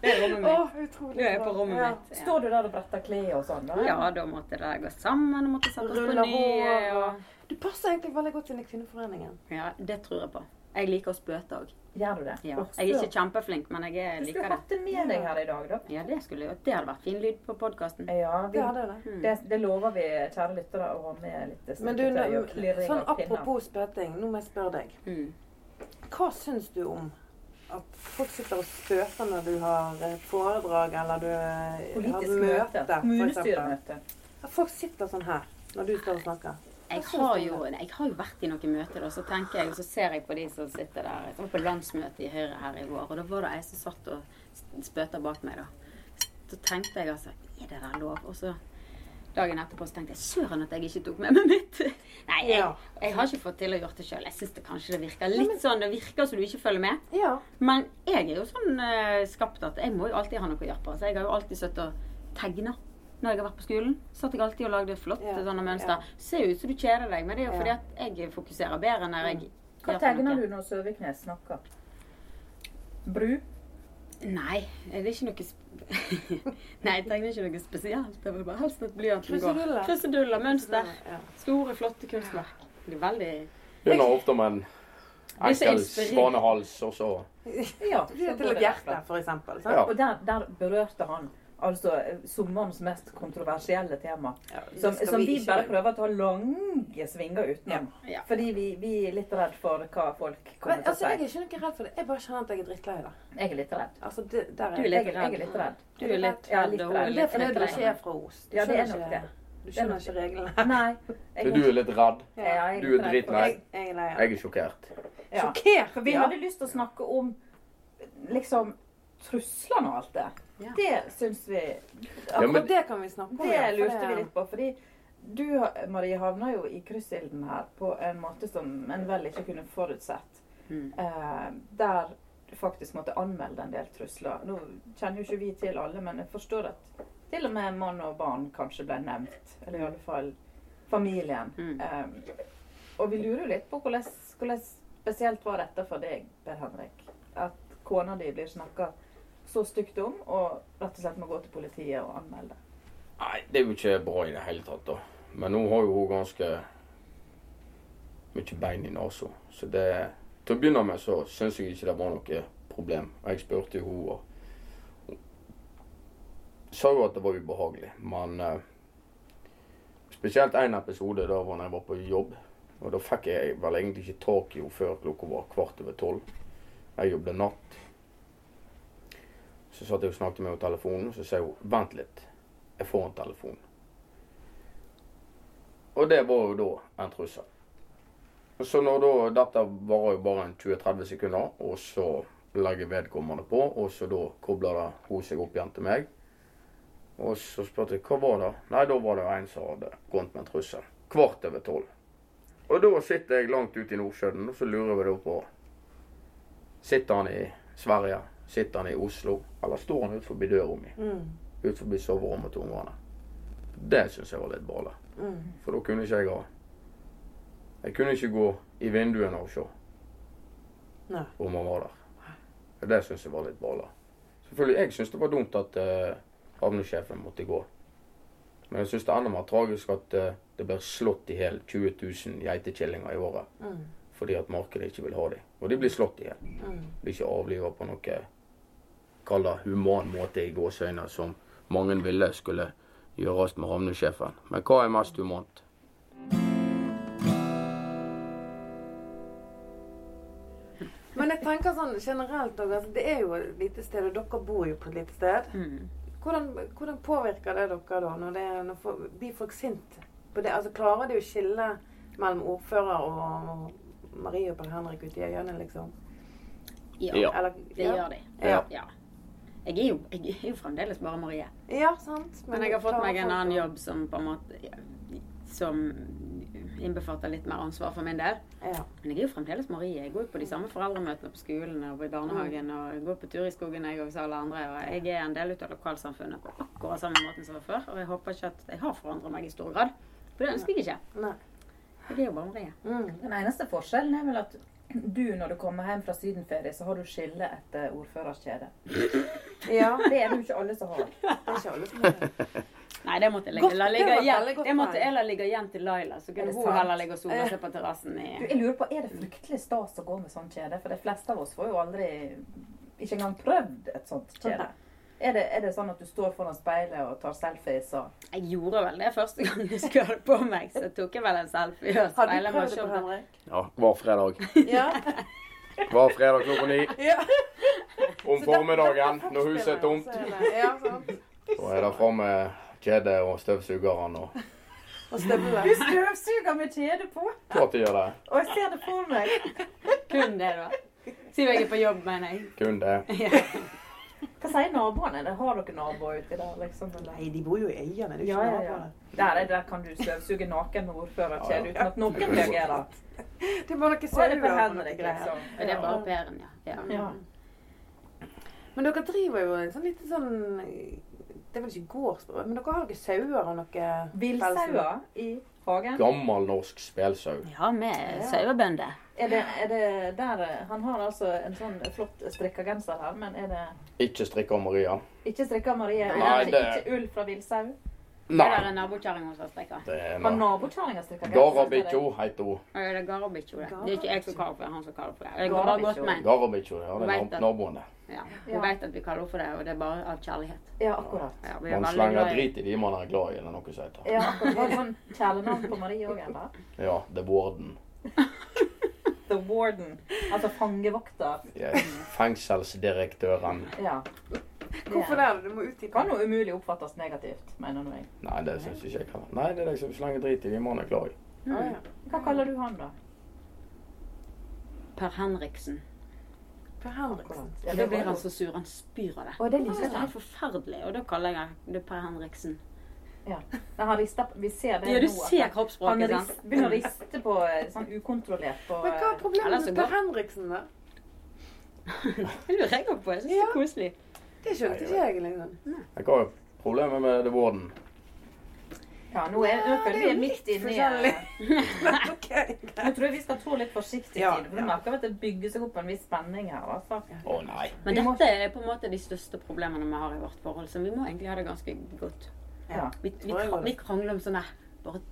Speaker 4: Det er rommet
Speaker 2: Å,
Speaker 4: mitt.
Speaker 2: utrolig
Speaker 4: Nå er jeg på
Speaker 2: bra.
Speaker 4: rommet
Speaker 2: Ja.
Speaker 4: mitt. Ja.
Speaker 1: Står du der og bretter klær og sånn? da?
Speaker 4: Ja, da måtte det gå sammen, og måtte sette oss på
Speaker 2: Ruller
Speaker 4: nye.
Speaker 2: hår og
Speaker 4: Og...
Speaker 2: Du passer egentlig veldig godt inn i Kvinneforeningen.
Speaker 4: Ja, det tror jeg på. Jeg liker å spøte òg.
Speaker 1: Gjør du det?
Speaker 4: Ja.
Speaker 1: Åh,
Speaker 4: Jeg er
Speaker 1: søren.
Speaker 4: ikke kjempeflink, men jeg er-
Speaker 1: Hvis du
Speaker 4: liker det.
Speaker 1: hatt det med deg her i dag, da.
Speaker 4: Ja, det skulle jeg gjort. Det hadde vært fin lyd på Hmm. podkasten.
Speaker 1: Ja, vi,
Speaker 2: Det hadde jo det.
Speaker 1: det, det lover vi kjære lyttere å ha med litt
Speaker 2: Men du,
Speaker 1: syltetøy og
Speaker 2: nå-
Speaker 1: klirring
Speaker 2: sånn
Speaker 1: av pinner.
Speaker 2: apropos spøting, nå må jeg spørre deg.
Speaker 4: Mm.
Speaker 2: Hva syns du om at folk sitter og spøker når du har eh, foredrag eller du eh,
Speaker 1: Politisk
Speaker 2: har
Speaker 1: møte.
Speaker 2: for eksempel?
Speaker 1: Kommunestyremøte.
Speaker 2: At folk sitter sånn her når du står og snakker.
Speaker 4: Jeg
Speaker 2: Hva syns
Speaker 4: har,
Speaker 2: du om
Speaker 4: jo, jeg har jo vært i noen møter, og så tenker jeg, og så ser jeg på de som sitter der. Jeg var på landsmøte i Høyre her i vår, og da var det ei som satt og s- spøta bak meg, da. Så tenkte jeg altså Er det der lov? Og så dagen etterpå så tenkte jeg søren at jeg ikke tok med meg mitt. (laughs) Nei, jeg,
Speaker 2: Ja.
Speaker 4: jeg har ikke fått til å gjøre det sjøl. Jeg syns det kanskje det virker litt sånn. Det virker som du ikke følger med.
Speaker 2: Ja.
Speaker 4: Men jeg er jo sånn eh, skapt at jeg må jo alltid ha noe å gjøre på. Så jeg har jo alltid sittet og tegna når jeg har vært på skolen. Satt jeg alltid og lagde flotte
Speaker 2: Ja,
Speaker 4: sånne
Speaker 2: ja.
Speaker 4: mønster. Ser jo ut som du kjeder deg, men det er jo
Speaker 2: Ja.
Speaker 4: fordi at jeg fokuserer bedre når jeg
Speaker 1: Hva tegner du når Søviknes snakker? Bru?
Speaker 4: Nei, det er ikke noe sp (laughs) Nei, jeg tegner ikke noe spesielt. Det var bare helst at blyanten går.
Speaker 2: Kruseduller.
Speaker 4: Kruseduller, mønster.
Speaker 2: Sånn, Ja.
Speaker 4: Store, flotte kunstverk. Det er veldig
Speaker 3: Begynner ofte med en
Speaker 4: er så
Speaker 3: enkel
Speaker 4: inspirert.
Speaker 3: svanehals, og så
Speaker 1: Ja.
Speaker 2: Du er til et hjerte, for eksempel. Sant?
Speaker 3: Ja.
Speaker 1: Og der, der berørte han altså eh, sommerens mest kontroversielle tema.
Speaker 2: Ja, det
Speaker 1: Som,
Speaker 2: skal
Speaker 1: som vi
Speaker 2: ikke
Speaker 1: bare
Speaker 2: gjøre.
Speaker 1: prøver å ta lange svinger utenom.
Speaker 4: Ja.
Speaker 1: Fordi vi, vi er litt redd for hva folk kommer
Speaker 2: Men,
Speaker 1: til å
Speaker 2: altså, jeg
Speaker 1: si.
Speaker 2: er ikke noe redd for det. Jeg bare kjenner at jeg er drittlei det.
Speaker 1: Jeg er litt redd.
Speaker 2: Altså, det, der
Speaker 4: Du er
Speaker 2: er
Speaker 4: litt
Speaker 1: Jeg, jeg er litt redd.
Speaker 4: Du er litt
Speaker 1: Ja, litt
Speaker 4: redd, og hun
Speaker 1: redd.
Speaker 2: Men det er
Speaker 4: er litt
Speaker 2: fordi du
Speaker 4: redd.
Speaker 2: ikke er fra Os. Du
Speaker 1: Ja, det er
Speaker 2: skjønner
Speaker 1: nok
Speaker 2: ikke-
Speaker 1: det.
Speaker 2: Du skjønner ikke reglene.
Speaker 1: Nei.
Speaker 3: Så du er litt redd?
Speaker 1: Ja, jeg
Speaker 3: Du
Speaker 1: litt
Speaker 3: er
Speaker 1: redd for-
Speaker 3: dritlei.
Speaker 2: Jeg, jeg er lei av det.
Speaker 3: Jeg er sjokkert.
Speaker 1: Ja.
Speaker 2: Sjokkert!
Speaker 1: For vi
Speaker 2: ja.
Speaker 1: hadde lyst til å snakke om liksom truslene og alt det.
Speaker 4: Ja.
Speaker 1: Det syns vi
Speaker 3: Ja, men-
Speaker 2: Akkurat det kan vi snakke om.
Speaker 1: Det
Speaker 2: ja, for
Speaker 1: lurte
Speaker 2: det-
Speaker 1: vi litt på. Fordi du, Marie, havna jo i kryssilden her på en måte som en vel ikke kunne forutsett.
Speaker 4: Mm.
Speaker 1: Eh, der du faktisk måtte anmelde en del trusler. Nå kjenner jo ikke vi til alle, men jeg forstår at til og med mann og barn kanskje ble nevnt. Eller i alle fall familien.
Speaker 4: Mm.
Speaker 1: Eh, og vi lurer jo litt på hvordan, hvordan spesielt var dette for deg, Per Henrik? At kona di blir snakka så stygt om, og rett og slett må gå til politiet og anmelde.
Speaker 3: Nei, det er jo ikke bra i det hele tatt, da. Men nå har jo hun ganske mye bein i nesa. Så det Til å begynne med så syns jeg ikke det var noe problem. Og Jeg spurte jo henne og hun sa jo at det var ubehagelig, men eh, Spesielt én episode da var når jeg var på jobb. Og da fikk jeg vel egentlig ikke tak i henne før klokka var kvart over tolv. Jeg jobbet natt. Så satt jeg og snakket med henne i telefonen, så sa hun 'vent litt' jeg får en telefon. Og det var jo da en trussel. Og Så når da, dette varer jo bare en 20-30 sekunder, og så legger vedkommende på, og så da kobler det hun seg opp igjen til meg. Og så spurte jeg hva var det? Nei, da var det en som hadde kommet med en trussel. Kvart over tolv. Og da sitter jeg langt ute i Nordsjøen, og så lurer vi da på Sitter han i Sverige? Sitter han i Oslo? Eller står han utenfor døra mi?
Speaker 2: Mm.
Speaker 3: ut forbi soverommet til ungene. Det syns jeg var litt bra. da.
Speaker 2: Mm.
Speaker 3: For da kunne ikke jeg ha Jeg kunne ikke gå i vinduene og se
Speaker 2: Nei.
Speaker 3: om han var der. Og Det syns jeg var litt bra. da. Selvfølgelig, jeg syns det var dumt at eh, havnesjefen måtte gå. Men jeg syns det er enda mer tragisk at eh, det blir slått i hjel 20 000 geitekillinger i året
Speaker 2: Mm.
Speaker 3: fordi at markedet ikke vil ha dem. Og de blir slått i hjel.
Speaker 2: Mm.
Speaker 3: Blir ikke avliva på noe kall det human måte i gåseøyne, som mange ville skulle gjøres med havnesjefen. Men hva er mest humant?
Speaker 2: Men jeg tenker sånn generelt òg altså, Det er jo et lite sted, og dere bor jo på et lite sted.
Speaker 4: Mm.
Speaker 2: Hvordan, hvordan påvirker det dere da, når, det, når folk, blir folk sinte? på det? Altså, klarer de å skille mellom ordfører og, og Marie og Per Henrik ute i øynene, liksom?
Speaker 4: Ja,
Speaker 3: Ja.
Speaker 2: Eller,
Speaker 4: det gjør de.
Speaker 2: Ja.
Speaker 4: Ja. Jeg, er jo, jeg er jo fremdeles bare Marie.
Speaker 2: Ja, sant.
Speaker 4: Men jeg har fått
Speaker 2: klarer
Speaker 4: meg en
Speaker 2: folk
Speaker 4: annen
Speaker 2: å-
Speaker 4: jobb som på en måte ja, Som innbefatter litt mer ansvar for min del.
Speaker 2: Ja.
Speaker 4: Men jeg er jo fremdeles Marie. Jeg går jo på de samme foreldremøtene på skolen og i
Speaker 2: Mm.
Speaker 4: barnehagen. Og jeg går på tur i skogen jeg og som alle andre. Og jeg er en del ut av lokalsamfunnet på akkurat samme måten som før. Og jeg håper ikke at jeg har forandret meg i stor grad. For det ønsker jeg ikke.
Speaker 2: Nei.
Speaker 4: Jeg er jo bare Marie.
Speaker 2: Mm.
Speaker 1: Den eneste forskjellen er vel at du, når du kommer hjem fra sydenferie, så har du skille etter ordførerskjedet.
Speaker 2: Ja.
Speaker 1: Det er det jo ikke alle som har.
Speaker 2: Det er ikke alle som gjør det.
Speaker 4: Nei, det måtte jeg
Speaker 2: Godt,
Speaker 4: ligge, la
Speaker 2: det
Speaker 4: ligge
Speaker 2: var
Speaker 4: igjen.
Speaker 2: veldig godt
Speaker 4: Det måtte
Speaker 2: poeng.
Speaker 4: jeg la ligge igjen til Laila, så
Speaker 1: Er
Speaker 4: kunne
Speaker 1: det
Speaker 4: hun
Speaker 1: sant?
Speaker 4: heller ligge og sole seg på terrassen i
Speaker 1: Du, jeg lurer på, Er det fryktelig stas å gå med sånt kjede? For de fleste av oss får jo aldri Ikke engang prøvd et sånt kjede. Er det, er det sånn at du står foran speilet og tar selfies og
Speaker 4: Jeg gjorde vel det første gang jeg skulle ha det på meg, så tok jeg vel en selfie
Speaker 2: Har
Speaker 4: og
Speaker 2: du
Speaker 4: speilet meg
Speaker 2: prøvd
Speaker 4: og
Speaker 2: det, Per
Speaker 4: sjokket.
Speaker 2: Henrik?
Speaker 3: Ja, hver fredag.
Speaker 2: Ja.
Speaker 3: Hver fredag klokka ni
Speaker 2: ja.
Speaker 3: om
Speaker 2: Så da-
Speaker 3: formiddagen
Speaker 2: da- da-
Speaker 3: når huset er tomt.
Speaker 2: så er det- Ja, sant.
Speaker 3: Så er det fram med kjedet og støvsugeren og
Speaker 2: Og støvler.
Speaker 1: Du støvsuger med kjede på!
Speaker 3: Klart de gjør det.
Speaker 1: Og jeg ser det for meg.
Speaker 4: Kun det, da. Siden jeg er på jobb, mener jeg.
Speaker 3: Kun det.
Speaker 4: Ja.
Speaker 1: Hva sier naboene? Det Har dere naboer uti der? liksom? Eller?
Speaker 2: Nei, de bor jo i øyene. Det er jo
Speaker 1: Ja,
Speaker 2: ikke
Speaker 1: ja,
Speaker 2: noe
Speaker 1: ja.
Speaker 2: på det.
Speaker 1: Der, der kan du støvsuge naken med
Speaker 3: Ja, ja.
Speaker 1: ordførerkjede uten at noen reagerer.
Speaker 2: Det er bare
Speaker 1: Så er
Speaker 2: noe
Speaker 1: det
Speaker 2: sauer
Speaker 1: Per
Speaker 2: og noe
Speaker 1: Henrik,
Speaker 2: greier.
Speaker 1: liksom.
Speaker 4: Og det er bare pæren, ja. ja.
Speaker 1: Ja.
Speaker 2: Men dere driver jo en sånn liten sånn Det er vel ikke gårdsbrød, men dere har noen sauer og noe pels?
Speaker 1: Villsauer i hagen.
Speaker 3: Gammel norsk spelsau.
Speaker 4: Ja, vi er sauebønder.
Speaker 1: Er det, er det der eh, Han har altså en sånn flott strikka genser her, men er det
Speaker 3: Ikke strikka Maria.
Speaker 1: ikke strikka Marie? Er
Speaker 3: Nei,
Speaker 1: det,
Speaker 3: det-
Speaker 1: ikke ull fra villsau?
Speaker 4: Det der
Speaker 3: Nei.
Speaker 4: er nabokjerringa hos oss, tenker jeg.
Speaker 3: Det er
Speaker 1: Har
Speaker 3: en
Speaker 1: nabokjerringa strikka
Speaker 3: Garabikkjo heter hun.
Speaker 4: Og Det er garabikkjo, det. Det er ikke jeg som kaller for det, han som kaller for det. Jeg går bare
Speaker 1: Garabikkjo.
Speaker 4: godt med.
Speaker 3: Garabikkjo, ja. Det er
Speaker 4: Vet at-
Speaker 3: naboene.
Speaker 4: Ja.
Speaker 1: Ja.
Speaker 4: Hun vet at vi kaller henne for det, og det er bare av kjærlighet.
Speaker 1: Ja, akkurat.
Speaker 4: Ja, vi er
Speaker 3: Man
Speaker 4: veldig
Speaker 3: slenger
Speaker 4: glad i-
Speaker 3: drit i de man er glad i, eller noe som heter.
Speaker 1: Ja, akkurat. Var det sånn kjælenavn på Marie òg, eller?
Speaker 3: Ja, The Warden.
Speaker 1: The Warden. Altså fangevokter.
Speaker 3: Yes. Fengselsdirektøren.
Speaker 1: Ja.
Speaker 2: Hvorfor
Speaker 1: det?
Speaker 2: det? Du må
Speaker 1: Det
Speaker 2: utdype.
Speaker 1: Kan jo umulig oppfattes negativt, mener nå jeg.
Speaker 3: Nei, det syns ikke jeg kan. Nei, det er liksom slenger drit i de man er glad i.
Speaker 2: Ah,
Speaker 4: Mm.
Speaker 2: ja.
Speaker 1: Hva kaller du han, da?
Speaker 4: Per Henriksen.
Speaker 2: Per Henriksen.
Speaker 1: Ja,
Speaker 4: Og
Speaker 1: det
Speaker 4: da blir
Speaker 1: var
Speaker 4: han
Speaker 1: jo-
Speaker 4: så sur, han spyr av det.
Speaker 1: Å, det er
Speaker 4: Jeg synes
Speaker 1: litt
Speaker 4: det er helt forferdelig, og da kaller jeg det Per Henriksen.
Speaker 1: Nei, han rister på- Vi ser det
Speaker 4: Ja, du
Speaker 1: nå. at
Speaker 4: ser
Speaker 1: Han
Speaker 4: kroppsspråket,
Speaker 1: rist,
Speaker 4: sant?
Speaker 1: begynner å riste på eh, sånn ukontrollert på
Speaker 2: Men hva er
Speaker 1: eh,
Speaker 2: problemet
Speaker 4: Ellers
Speaker 2: med
Speaker 4: så
Speaker 2: Per
Speaker 4: går-
Speaker 2: Henriksen, da?
Speaker 4: (laughs) Det lurer jeg også på. Jeg synes det
Speaker 2: Ja.
Speaker 4: er koselig.
Speaker 2: Det skjønte ikke jeg, liksom.
Speaker 3: Jeg har jo problemer med The Warden.
Speaker 1: Ja, nå er, nå føler vi
Speaker 2: det er
Speaker 1: er
Speaker 2: jo
Speaker 1: midt
Speaker 2: litt
Speaker 1: inni
Speaker 2: forskjellig.
Speaker 1: eh,
Speaker 2: (laughs) Ok, greit.
Speaker 1: Nå tror jeg vi skal trå litt forsiktig
Speaker 2: Ja,
Speaker 1: til det. For du merker at det bygger seg opp en viss spenning her. altså.
Speaker 3: Å nei.
Speaker 4: Men
Speaker 1: Vi må-
Speaker 4: dette er på en måte de største problemene vi har i vårt forhold, så vi må egentlig ha det ganske godt.
Speaker 1: Ja.
Speaker 4: Vi, vi,
Speaker 2: Tror jeg det.
Speaker 4: kra- vi krangler om sånne bare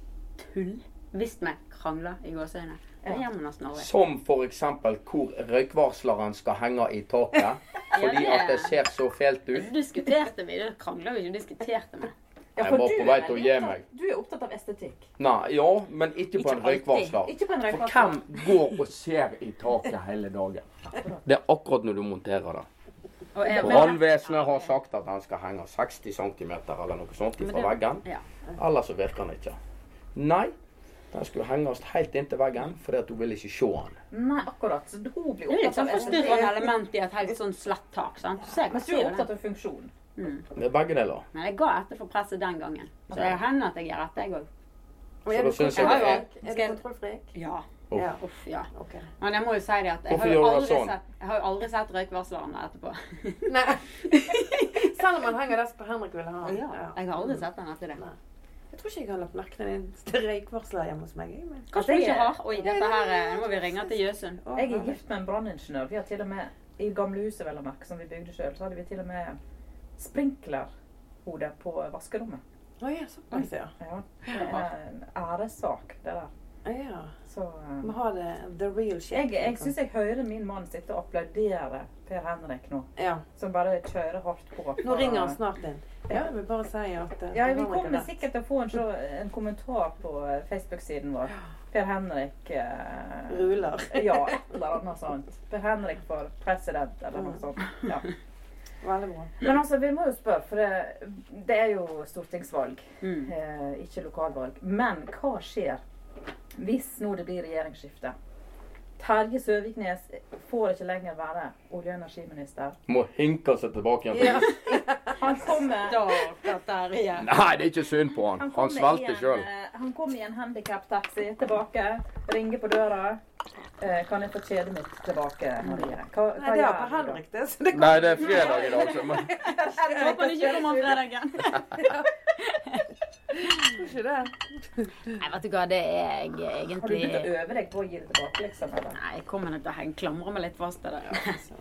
Speaker 4: tull. Hvis vi krangler i gåseøyne. Det altså
Speaker 1: Ja.
Speaker 4: gjør vi nesten aldri.
Speaker 3: Som for eksempel hvor røykvarsleren skal henge i taket. Fordi
Speaker 4: (laughs) Ja, det-
Speaker 3: at det ser så fælt
Speaker 4: Det
Speaker 3: ut.
Speaker 4: diskuterte vi. Det krangla vi ikke, det diskuterte vi.
Speaker 1: Ja,
Speaker 3: Jeg
Speaker 1: for
Speaker 3: var
Speaker 1: du
Speaker 3: på
Speaker 1: er
Speaker 3: vei til å
Speaker 1: veldig
Speaker 3: gi
Speaker 1: opptatt-
Speaker 3: meg.
Speaker 1: Du er opptatt av estetikk.
Speaker 3: Nei, ja, men ikke på
Speaker 4: Ikke
Speaker 3: en
Speaker 4: alltid.
Speaker 3: røykvarsler.
Speaker 1: Ikke på en
Speaker 3: For
Speaker 1: røykvarsler.
Speaker 3: hvem går og ser i taket hele dagen? Det er akkurat når du monterer det.
Speaker 4: Og jeg-
Speaker 3: Brannvesenet har sagt at den skal henge 60 cm eller noe sånt
Speaker 4: Men
Speaker 3: fra
Speaker 4: det-
Speaker 3: veggen.
Speaker 4: Ja.
Speaker 3: Ellers så virker den ikke. Nei, den skulle henges helt inntil veggen fordi at du vil ikke se den.
Speaker 1: Nei, akkurat. Så hun blir
Speaker 4: Det er litt
Speaker 1: opptatt
Speaker 4: sånn
Speaker 1: av estetikk.
Speaker 4: forstyrrende element i et helt sånn slett tak. sant? Så jeg
Speaker 1: Mens du
Speaker 4: ser
Speaker 1: er
Speaker 4: jo
Speaker 1: opptatt
Speaker 4: det.
Speaker 1: av funksjon.
Speaker 3: Det er begge deler.
Speaker 4: Men jeg ga etter for presset den gangen. Så det hender at jeg gjør etter, jeg òg.
Speaker 2: Og er
Speaker 3: da
Speaker 2: du
Speaker 3: synes jeg
Speaker 4: det er-
Speaker 2: kontrollfrik? Er du kontrollfrik?
Speaker 4: Ja.
Speaker 3: Uff.
Speaker 2: Ja.
Speaker 4: Uff, ja.
Speaker 2: Ok.
Speaker 4: Men jeg må jo si det at jeg
Speaker 3: Hvorfor
Speaker 4: har jo
Speaker 3: gjør du
Speaker 4: aldri,
Speaker 3: sånn?
Speaker 4: sett, jeg har jo aldri sett røykvarslerne etterpå.
Speaker 2: Nei. (laughs) Selv om han henger der som Per Henrik ville ha han. Ja.
Speaker 4: Jeg har aldri sett den etter det.
Speaker 2: Nei. Jeg tror ikke jeg har lagt merke til den eneste røykvarsler hjemme hos meg. jeg, Men...
Speaker 1: Altså,
Speaker 4: Kanskje du
Speaker 1: jeg-
Speaker 4: ikke har? Oi, dette her eh, Nå må vi ringe til Jøsund.
Speaker 2: Å,
Speaker 1: Jeg er
Speaker 2: herregud.
Speaker 1: gift med en branningeniør. Vi har til og med i gamlehuset vel å merke, som vi bygde sjøl, så hadde vi til og med sprinklerhode på vaskerommet.
Speaker 2: Å ja, såpass, ja.
Speaker 1: Ja, det er en æressak, det der.
Speaker 2: Å, ja.
Speaker 1: Så eh,
Speaker 2: Må ha det the real shit.
Speaker 1: jeg, jeg syns jeg hører min mann sitte og applaudere Per Henrik nå.
Speaker 2: ja.
Speaker 1: Som bare kjører hardt på.
Speaker 2: Nå ringer han snart inn. Ja, jeg vil bare si at eh,
Speaker 1: Ja,
Speaker 2: Per
Speaker 1: vi
Speaker 2: Henrik har
Speaker 1: kommer
Speaker 2: rett.
Speaker 1: sikkert til å få en, så, en kommentar på eh, Facebook-siden vår Per Henrik eh,
Speaker 2: Ruler.
Speaker 1: Ja, et eller annet sånt. Per Henrik for president, eller noe
Speaker 2: Mm.
Speaker 1: sånt. Ja.
Speaker 2: Veldig bra.
Speaker 1: Men altså, vi må jo spørre, for det, det er jo stortingsvalg,
Speaker 4: Mm.
Speaker 1: eh, ikke lokalvalg. Men hva skjer hvis nå det blir regjeringsskifte? Terje Søviknes får ikke lenger være olje- og energiminister.
Speaker 3: Må hinke seg tilbake igjen.
Speaker 2: (laughs)
Speaker 1: Ja. Han kommer
Speaker 4: Stakkars Terje.
Speaker 3: Nei, det er ikke synd på han. Han
Speaker 1: kommer i
Speaker 3: svelger
Speaker 1: en,
Speaker 3: sjøl.
Speaker 1: eh, Han kom i en handikaptaxi tilbake, ringer på døra. Eh, kan jeg få kjedet mitt tilbake, Marie? Hva, hva
Speaker 2: Nei, det er
Speaker 1: gjør du
Speaker 2: Per
Speaker 1: da?
Speaker 2: Henrik, det. Så det
Speaker 3: Nei, det er fredag i dag, så men
Speaker 4: Jeg håper han ikke kommer om fredagen.
Speaker 2: går ikke, det.
Speaker 4: Nei, vet du hva, det er jeg
Speaker 1: Har du
Speaker 4: egentlig
Speaker 1: begynt å øve deg på å gi det tilbake, liksom? Eller?
Speaker 4: Nei, jeg kommer nok til å henge- klamre meg litt fast til det.
Speaker 2: Så.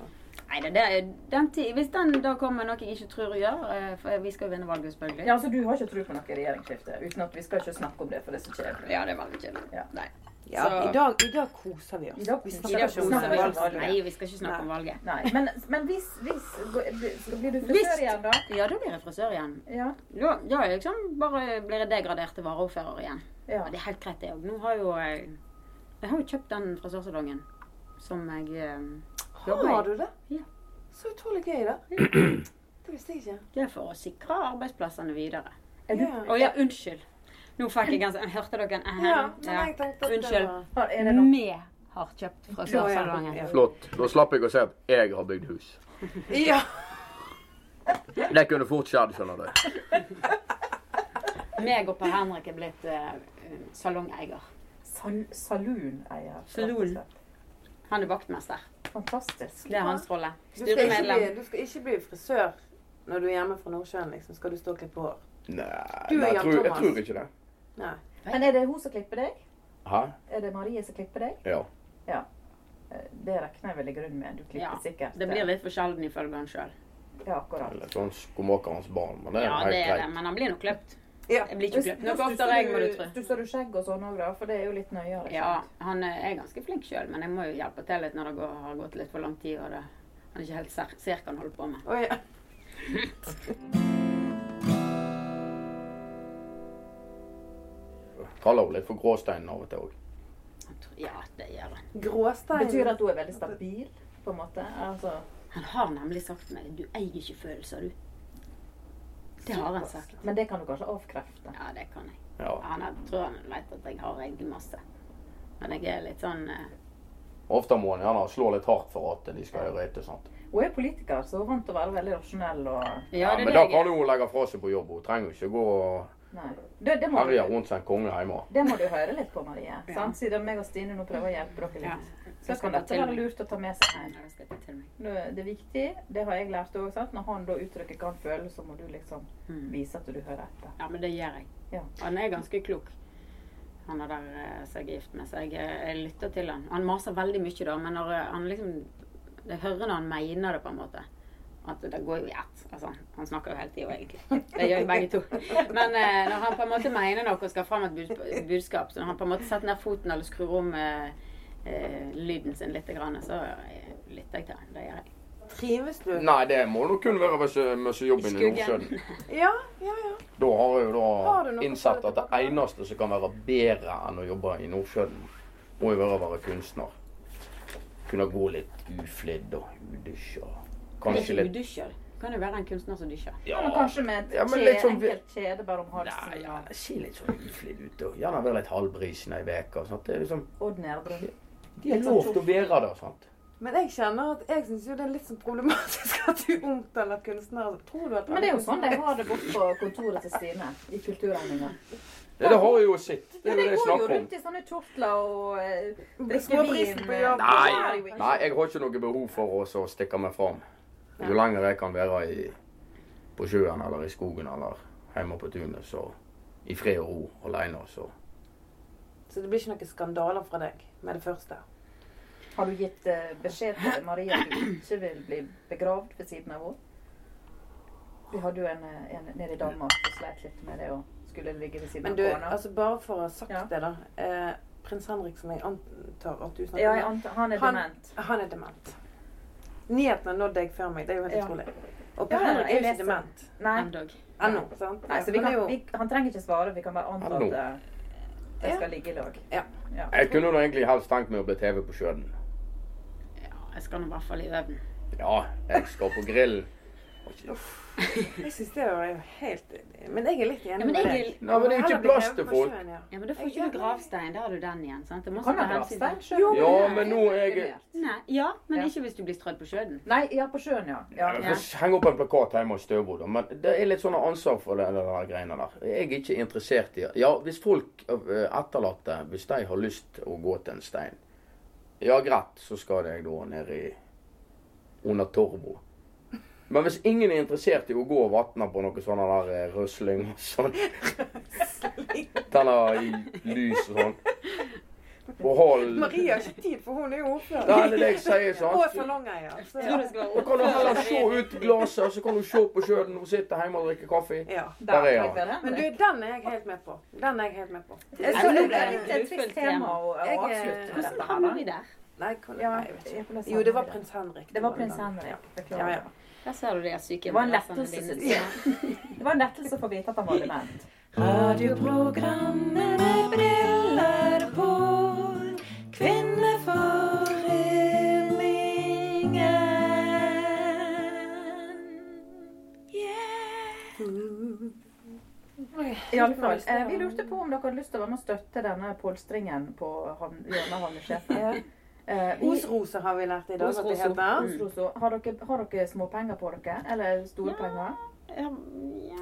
Speaker 4: Nei, det, det er den ti Hvis den da kommer noe jeg ikke tror å gjøre eh, For vi skal jo vinne valget, selvfølgelig.
Speaker 1: Ja, altså, du har ikke tro på noe regjeringsskifte? Uten at vi skal ikke snakke om det, for det er så kjedelig.
Speaker 4: Ja, det er veldig kjedelig.
Speaker 1: Ja.
Speaker 4: Nei.
Speaker 2: Ja,
Speaker 4: Så-
Speaker 2: i dag, I dag koser vi oss.
Speaker 1: I dag
Speaker 2: vi
Speaker 1: koser vi
Speaker 2: snakker ikke
Speaker 1: oss.
Speaker 2: om det.
Speaker 1: Snakker ikke om
Speaker 4: Nei, vi skal ikke snakke om valget.
Speaker 1: Nei, men, men hvis, hvis skal, Blir du
Speaker 4: Hvis-
Speaker 1: frisør igjen, da?
Speaker 4: Ja, da blir jeg frisør igjen.
Speaker 1: Ja.
Speaker 4: Da, da er jeg liksom bare blir jeg degradert til varaordfører igjen.
Speaker 1: ja.
Speaker 4: Ja, det er helt greit, det òg. Nå har jo jeg Jeg har jo kjøpt den frisørsalongen som jeg eh,
Speaker 2: Har du det?
Speaker 4: Ja.
Speaker 2: Så utrolig gøy, da. Det visste jeg ikke.
Speaker 4: Det er for å sikre arbeidsplassene videre.
Speaker 1: Er du,
Speaker 2: Ja.
Speaker 4: Å ja, unnskyld. Nå fikk jeg ganske Hørte dere en
Speaker 2: Ja, men jeg tenkte at
Speaker 4: Unnskyld.
Speaker 2: det var
Speaker 1: har, er det noe?
Speaker 4: Vi har kjøpt frisørsalongen.
Speaker 2: Ja.
Speaker 3: flott. Da slapp jeg å si at jeg har bygd hus.
Speaker 2: Ja.
Speaker 3: Det kunne fort skjedd, skjønner du.
Speaker 4: Meg og Per Henrik er blitt eh, salongeier.
Speaker 1: Sal Salooneier. rett og
Speaker 4: Saloon.
Speaker 1: slett.
Speaker 4: Han er vaktmester.
Speaker 1: Fantastisk.
Speaker 4: Det er hans rolle.
Speaker 2: Du skal, ikke bli,
Speaker 4: Styremedlem.
Speaker 2: du skal ikke bli frisør når du er hjemme fra Nordsjøen, liksom. Skal du stå og klippe hår?
Speaker 3: Nei,
Speaker 2: Du er
Speaker 3: nei jeg,
Speaker 2: Jan
Speaker 3: tror, jeg
Speaker 2: Thomas.
Speaker 3: tror ikke det.
Speaker 2: Nei.
Speaker 1: Men er det hun som klipper deg?
Speaker 3: Hæ?
Speaker 1: Er det Marie som klipper deg?
Speaker 3: Ja.
Speaker 1: Eh, Det regner jeg vel i grunnen med. Du klipper
Speaker 4: Ja,
Speaker 1: sikkert. eh,
Speaker 4: Det blir litt for sjelden ifølge han sjøl.
Speaker 1: Ja, akkurat.
Speaker 3: Eller sånn skomakerens barn. Men det er
Speaker 4: Ja, det
Speaker 3: helt
Speaker 4: er det.
Speaker 3: greit.
Speaker 4: Men han blir nok kløpt.
Speaker 2: Ja.
Speaker 4: Jeg blir ikke kløpt nok
Speaker 1: Nå
Speaker 4: oftere, jeg, må du tro.
Speaker 1: Du står jo skjegg og sånn òg, da, for det er jo litt nøyere.
Speaker 4: Ja, han er ganske flink sjøl, men jeg må jo hjelpe til litt når det går, har gått litt for lang tid og det, han ikke helt ser, ser hva han holder på med.
Speaker 2: Å, ja.
Speaker 3: Kaller henne litt for gråsteinen av og til òg.
Speaker 4: Han tror- Ja, det gjør han.
Speaker 2: Gråstein.
Speaker 1: Betyr det at hun er veldig stabil, på en måte? Altså,
Speaker 4: Han har nemlig sagt til meg 'du eier ikke følelser, du'. Det har han sagt.
Speaker 1: men det kan du kanskje avkrefte.
Speaker 4: Ja, det kan jeg.
Speaker 3: Ja.
Speaker 4: Han er, tror han vet at jeg har egentlig masse. Men jeg er litt sånn eh,
Speaker 3: Ofte må en gjerne slå litt hardt for at de skal gjøre rett og sånt.
Speaker 1: Hun er politiker, så hun er vant til å være veldig rasjonell og
Speaker 4: Ja, det
Speaker 3: men
Speaker 4: er
Speaker 3: da
Speaker 4: det jeg
Speaker 3: kan
Speaker 4: er.
Speaker 3: hun legge fra seg på jobb. Hun trenger ikke gå og
Speaker 1: Nei. Det, det, må
Speaker 3: herje
Speaker 1: du,
Speaker 3: rundt som en konge hjemme.
Speaker 1: det må du høre litt på, Marie. Sant? Siden meg og Stine nå prøver å hjelpe dere
Speaker 4: Ja.
Speaker 1: litt.
Speaker 4: Jeg
Speaker 1: Så kan
Speaker 4: skal ta
Speaker 1: dette
Speaker 4: til
Speaker 1: være
Speaker 4: meg.
Speaker 1: lurt å ta med seg
Speaker 4: Nei,
Speaker 1: hjem.
Speaker 4: nei, jeg skal ta til meg.
Speaker 1: Nå, Det er viktig, det har jeg lært òg. Når han da uttrykker hva han føler, så må du liksom
Speaker 4: Mm.
Speaker 1: vise at du hører etter.
Speaker 4: Ja, men det gjør jeg.
Speaker 1: Ja.
Speaker 4: Han er ganske klok. Han er der eh, som jeg er gift med, så jeg, eh, jeg lytter til han. Han maser veldig mye da, men når eh, han liksom Jeg hører når han mener det, på en måte. At det går jo i ett. Altså, han snakker jo hele tida, egentlig. Det gjør jo begge to. Men eh, når han på en måte mener noe og skal fram et bud- budskap, så når han på en måte setter ned foten eller skrur om eh, eh, lyden sin litt, grann, så eh, lytter jeg til han. Det gjør jeg.
Speaker 2: Trives du?
Speaker 3: Nei, det må nå kun være hvis hvis jobben i
Speaker 4: Skuggen.
Speaker 3: Nordsjøen.
Speaker 2: Ja, ja, ja.
Speaker 3: Da har jeg jo
Speaker 2: Har du
Speaker 3: da
Speaker 2: noe
Speaker 3: innsett
Speaker 2: å
Speaker 3: at det
Speaker 2: føle tilbake?
Speaker 3: eneste som kan være bedre enn å jobbe i Nordsjøen, må jo være å være kunstner. Kunne gå litt uflidd og udusja. Kanskje
Speaker 4: Hvis du
Speaker 3: litt
Speaker 4: dusjer, kan det være en kunstner som dusjer.
Speaker 3: Ja,
Speaker 1: Men kanskje med et
Speaker 3: Ja, men
Speaker 1: kje,
Speaker 3: litt sånn-
Speaker 1: enkelt kjede bare om halsen
Speaker 3: Nei, ja, se litt sånn uflidd ut og gjerne være litt halvbrisende ei uke. Det er liksom
Speaker 1: og Odd Nerdrum.
Speaker 3: De er lov til å være der, sant?
Speaker 2: Men jeg kjenner at jeg syns jo det er litt sånn problematisk (laughs) at du omtaler kunstnere Tror du at
Speaker 1: Men det er jo sånn de har det borte på kontoret til Stine i Kulturregninga.
Speaker 3: Det, det har jeg jo sett. Det
Speaker 1: Ja,
Speaker 3: er
Speaker 1: de
Speaker 3: jo det
Speaker 1: går
Speaker 3: jeg
Speaker 1: jo
Speaker 3: snakker om.
Speaker 1: rundt i sånne kjortler og eh, drikker
Speaker 2: Småbrisen
Speaker 1: vin.
Speaker 2: på jobb.
Speaker 3: Nei.
Speaker 1: Ja, det er jo ikke- sånn.
Speaker 3: Nei, jeg har ikke noe behov for å så stikke meg fram. Jo lenger jeg kan være i, på sjøen eller i skogen eller hjemme på tunet, så i fred og ro alene, så
Speaker 2: Så det blir ikke noen skandaler fra deg med det første?
Speaker 1: Har du gitt eh, beskjed til Marie at du ikke vil bli begravd ved siden av henne? Vi hadde jo en, eh, en nede i Danmark som sleit litt med det og skulle ligge ved siden
Speaker 2: Men
Speaker 1: av
Speaker 2: du,
Speaker 1: kona.
Speaker 2: altså bare for å ha sagt
Speaker 1: Ja.
Speaker 2: det, da. Eh, Prins Henrik, som jeg antar at du snakker
Speaker 1: Ja, jeg
Speaker 2: om,
Speaker 1: antar, han er
Speaker 2: Han-
Speaker 1: dement.
Speaker 2: han er dement. Nyheten har nådd deg før meg. Det er jo helt
Speaker 1: Ja.
Speaker 2: utrolig. Og
Speaker 1: Ja,
Speaker 2: Per Henrik er
Speaker 1: jeg
Speaker 2: jo
Speaker 1: leser.
Speaker 2: ikke dement
Speaker 1: Nei,
Speaker 4: Endog.
Speaker 2: ennå. sant?
Speaker 1: Nei så vi
Speaker 2: Han er
Speaker 1: kan,
Speaker 2: jo-
Speaker 1: vi, han trenger ikke svare. Vi kan bare anta
Speaker 3: Hallo.
Speaker 1: at eh, de
Speaker 2: Ja.
Speaker 1: skal ligge i lag.
Speaker 2: Ja.
Speaker 1: Ja.
Speaker 3: Jeg kunne nå egentlig helst tenkt meg å bli TV på sjøen.
Speaker 4: Ja, jeg skal nå i hvert fall i øven.
Speaker 3: Ja, jeg skal på grill.
Speaker 4: (laughs)
Speaker 2: Jeg syns det var jo helt Men jeg er litt enig
Speaker 4: Ja, men
Speaker 2: med
Speaker 4: jeg
Speaker 2: deg.
Speaker 4: er
Speaker 3: Nei, men det er jo ikke plass til folk.
Speaker 4: Ja, men da får
Speaker 2: Jeg
Speaker 4: ikke
Speaker 2: gjør
Speaker 4: du gravstein. Da har du den igjen. sant? Det må
Speaker 1: Du kan
Speaker 4: også
Speaker 1: ha
Speaker 4: ta hensyn til-
Speaker 1: gravstein
Speaker 2: Jo,
Speaker 1: sjøl.
Speaker 3: Ja, men nå er jeg
Speaker 4: Nei, ja, men
Speaker 1: Ja.
Speaker 4: ikke hvis du blir strødd på sjøen.
Speaker 1: Nei, ja, på sjøen, ja. ja.
Speaker 3: Jeg får henge opp en plakat hjemme hos Støvbo, da, men det er litt sånn ansvar for det, det der greiene der. Jeg er ikke interessert i Ja, hvis folk eh, etterlatte, hvis de har lyst til å gå til en stein, ja greit, så skal jeg da ned i under Torbo. Men hvis ingen er interessert i å gå og vatne på noe sånn der eh, røsling og sånn (laughs) Tenner i lys og sånn. Og hold
Speaker 2: Maria har ikke tid, for hun er jo ordfører.
Speaker 3: Nei, det er det jeg
Speaker 2: (laughs)
Speaker 3: sier, sant.
Speaker 2: Og salongeier. Så
Speaker 4: Jeg tror det skal være
Speaker 3: Da kan du heller se ut glasset, og så kan du se på sjøen når du sitter hjemme og drikker kaffe.
Speaker 2: ja.
Speaker 3: Der er
Speaker 1: tenkte jeg
Speaker 3: han.
Speaker 1: det.
Speaker 2: Men du, den er jeg helt med på. Den er jeg helt med på. Jeg
Speaker 1: Jeg
Speaker 4: Nei,
Speaker 1: så
Speaker 2: så-
Speaker 1: det
Speaker 4: nå
Speaker 1: ble
Speaker 4: ble det
Speaker 1: litt et
Speaker 4: utfylt
Speaker 1: trist tema
Speaker 4: tema.
Speaker 1: å å
Speaker 2: Jeg, eh,
Speaker 1: avslutte med
Speaker 4: Hvordan
Speaker 1: dette her,
Speaker 4: havner vi
Speaker 1: da.
Speaker 4: der?
Speaker 2: Nei, hvordan-
Speaker 1: Ja,
Speaker 2: nei, jeg vet ikke.
Speaker 1: jeg ble sånn.
Speaker 2: Jo, det var prins Henrik.
Speaker 1: Det var prins Henrik.
Speaker 2: Ja,
Speaker 1: Beklager.
Speaker 2: ja.
Speaker 4: Der ser du de her syke
Speaker 1: Det var en
Speaker 4: interessene
Speaker 1: lettelse,
Speaker 4: dine.
Speaker 1: synes jeg. Det var en lettelse å få vite at han var dement.
Speaker 5: Radioprogrammet med briller på. Kvinneforeningen.
Speaker 1: (laughs) I alle fall, eh, vi lurte på om dere hadde lyst til å være med og støtte denne polstringen på havn- hjørnet av havnesjefen.
Speaker 2: Ja.
Speaker 1: Eh, vi-
Speaker 2: Osroser har vi lært i dag at det
Speaker 4: Osroser.
Speaker 2: heter.
Speaker 1: Oslo, så har dere, har dere småpenger på dere? Eller store
Speaker 4: Ja.
Speaker 1: penger?
Speaker 4: Ja,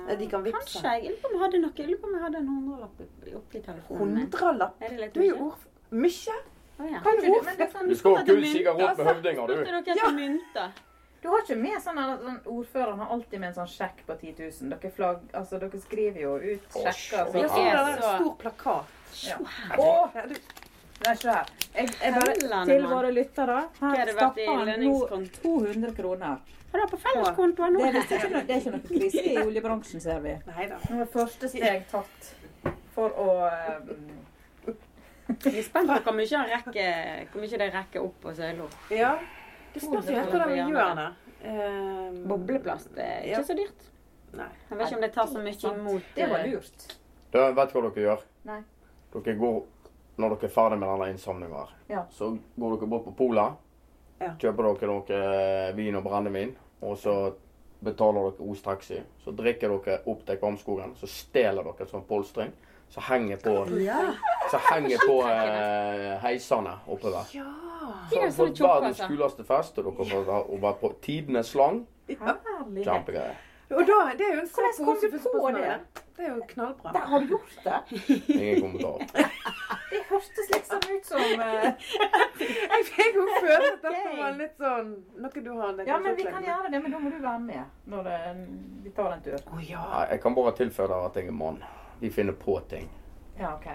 Speaker 2: Ja, de kan vippse.
Speaker 4: Kanskje. Jeg lurer på om jeg hadde noe. Jeg lurer på om jeg hadde en hundrelapp oppi- oppi telefonen. min.
Speaker 2: Hundrelapp.
Speaker 4: Er det litt
Speaker 2: Du er jo
Speaker 4: mye?
Speaker 2: ordf... Mykje?
Speaker 4: Å, ja.
Speaker 1: Kan du, men det, er sånn,
Speaker 3: Du skal ha gullsigar rundt med høvdinger,
Speaker 4: Spurte
Speaker 3: du.
Speaker 4: dere etter
Speaker 2: Ja.
Speaker 4: mynter?
Speaker 1: du har ikke med sånn, sånn Ordføreren har alltid med en sånn sjekk på 10 000. Dere, flagg, altså, dere skriver jo ut
Speaker 3: Å,
Speaker 1: sjekker.
Speaker 3: Ja,
Speaker 2: Ja,
Speaker 1: Så.
Speaker 2: så er det
Speaker 4: så-
Speaker 2: en stor plakat.
Speaker 1: Ja.
Speaker 4: Se her.
Speaker 1: Å!
Speaker 2: Ja, du,
Speaker 1: Nei, se her. Jeg, jeg bare,
Speaker 4: Helland,
Speaker 1: til
Speaker 4: mann.
Speaker 1: våre lyttere.
Speaker 4: Hva er
Speaker 1: Her
Speaker 4: det vært
Speaker 1: stapper
Speaker 4: i
Speaker 1: han nå
Speaker 4: lønningskonto?
Speaker 1: 200 kroner.
Speaker 4: Har du på felleskontoen
Speaker 1: Det
Speaker 4: nå?
Speaker 1: er, visst ikke noe, det er ikke noe krise i oljebransjen, ser vi.
Speaker 2: nei da.
Speaker 1: Nå er første steg tatt for å ehm,
Speaker 4: Jeg er spent på hvor mye han rekker- hvor mye de rekker opp og søle opp.
Speaker 2: Ja. Det spørs jo helt hvordan vi gjør det. Ehm,
Speaker 4: Bobleplast det er
Speaker 2: Ja.
Speaker 4: ikke så dyrt.
Speaker 2: Nei.
Speaker 4: Jeg vet ikke om det tar så mye imot.
Speaker 1: Det var
Speaker 4: eh,
Speaker 1: lurt.
Speaker 3: Du vet du hva dere gjør?
Speaker 1: Nei.
Speaker 3: Dere går, Når dere er ferdig med denne innsamlingen, her,
Speaker 1: Ja.
Speaker 3: så går dere bort på Polet.
Speaker 2: Ja.
Speaker 3: Kjøper dere noe eh, vin og brennevin, og så betaler dere Os taxi. Så drikker dere opp til Kvamskogen, så stjeler dere en sånn polstring. Så henger på, så henger på eh, heisene oppover.
Speaker 2: Ja.
Speaker 4: De er jo
Speaker 3: For
Speaker 4: sånne tjukke,
Speaker 3: verdens
Speaker 4: altså.
Speaker 3: kuleste fest, og dere får være- å være på tidenes slang.
Speaker 1: Herlighet.
Speaker 3: Kjempegreier.
Speaker 2: Og da, det er jo en sak
Speaker 1: Hvordan kom du på
Speaker 2: hovedspørsmålet. Det er jo knallbra.
Speaker 1: Der har du gjort det!
Speaker 3: Ingen kommentar.
Speaker 1: Det hørtes liksom ut som eh,
Speaker 2: Jeg fikk jo
Speaker 1: (laughs)
Speaker 2: føle at dette
Speaker 1: Ok.
Speaker 2: var litt sånn Noe du har deg
Speaker 1: Ja, men vi kan gjøre det, men da må du være med når det, vi tar en tur.
Speaker 2: Å ja.
Speaker 3: Nei, Ah, Jeg kan bare tilføye at jeg er mann. Vi finner på ting.
Speaker 1: Ja, OK.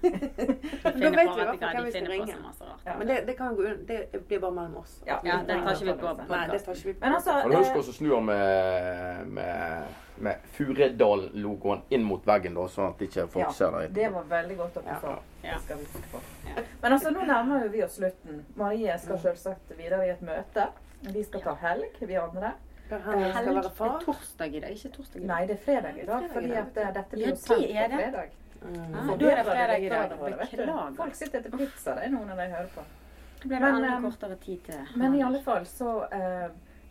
Speaker 2: Men
Speaker 4: finner
Speaker 2: da vet vi i hvert
Speaker 4: på at
Speaker 2: fall hvem
Speaker 4: de
Speaker 2: vi skal
Speaker 4: finner på så
Speaker 2: ringe.
Speaker 4: masse rart.
Speaker 1: Ja.
Speaker 2: Men det, det kan gå unna. Det blir bare mellom oss.
Speaker 1: Ja,
Speaker 4: Ja, den tar ikke vi på.
Speaker 2: Nei, det tar ikke vi på.
Speaker 1: Men altså
Speaker 3: Kan du huske
Speaker 1: eh,
Speaker 3: også å snu den med, med, med Furedal-logoen inn mot veggen, da, sånn at ikke folk
Speaker 1: Ja,
Speaker 3: ser det?
Speaker 1: Det var veldig godt at du
Speaker 2: Ja.
Speaker 1: sa.
Speaker 4: Ja.
Speaker 1: Det skal vi huske på.
Speaker 4: Ja.
Speaker 1: Men altså, nå nærmer jo vi oss slutten. Marie skal selvsagt videre i et møte. Vi skal ta helg, vi andre.
Speaker 2: Bør han skal være
Speaker 4: Det er
Speaker 2: far?
Speaker 4: torsdag i dag, ikke torsdag i dag.
Speaker 1: Nei, det er fredag i dag,
Speaker 2: fredag i
Speaker 1: fordi
Speaker 2: dag,
Speaker 1: at eh, dette blir
Speaker 4: Ja,
Speaker 1: jo sendt
Speaker 4: det
Speaker 1: på
Speaker 4: er det.
Speaker 1: fredag.
Speaker 2: Mm.
Speaker 4: Ah, da er det
Speaker 1: Forbedrer
Speaker 4: fredag
Speaker 1: deg
Speaker 4: i
Speaker 1: i
Speaker 4: dag.
Speaker 1: dag, Bård, vet du.
Speaker 4: Beklager.
Speaker 1: Folk sitter etter pizza, det er noe når de hører på.
Speaker 4: Det ble
Speaker 1: Men,
Speaker 4: enda
Speaker 1: eh,
Speaker 4: kortere tid til.
Speaker 1: Men i alle fall så eh,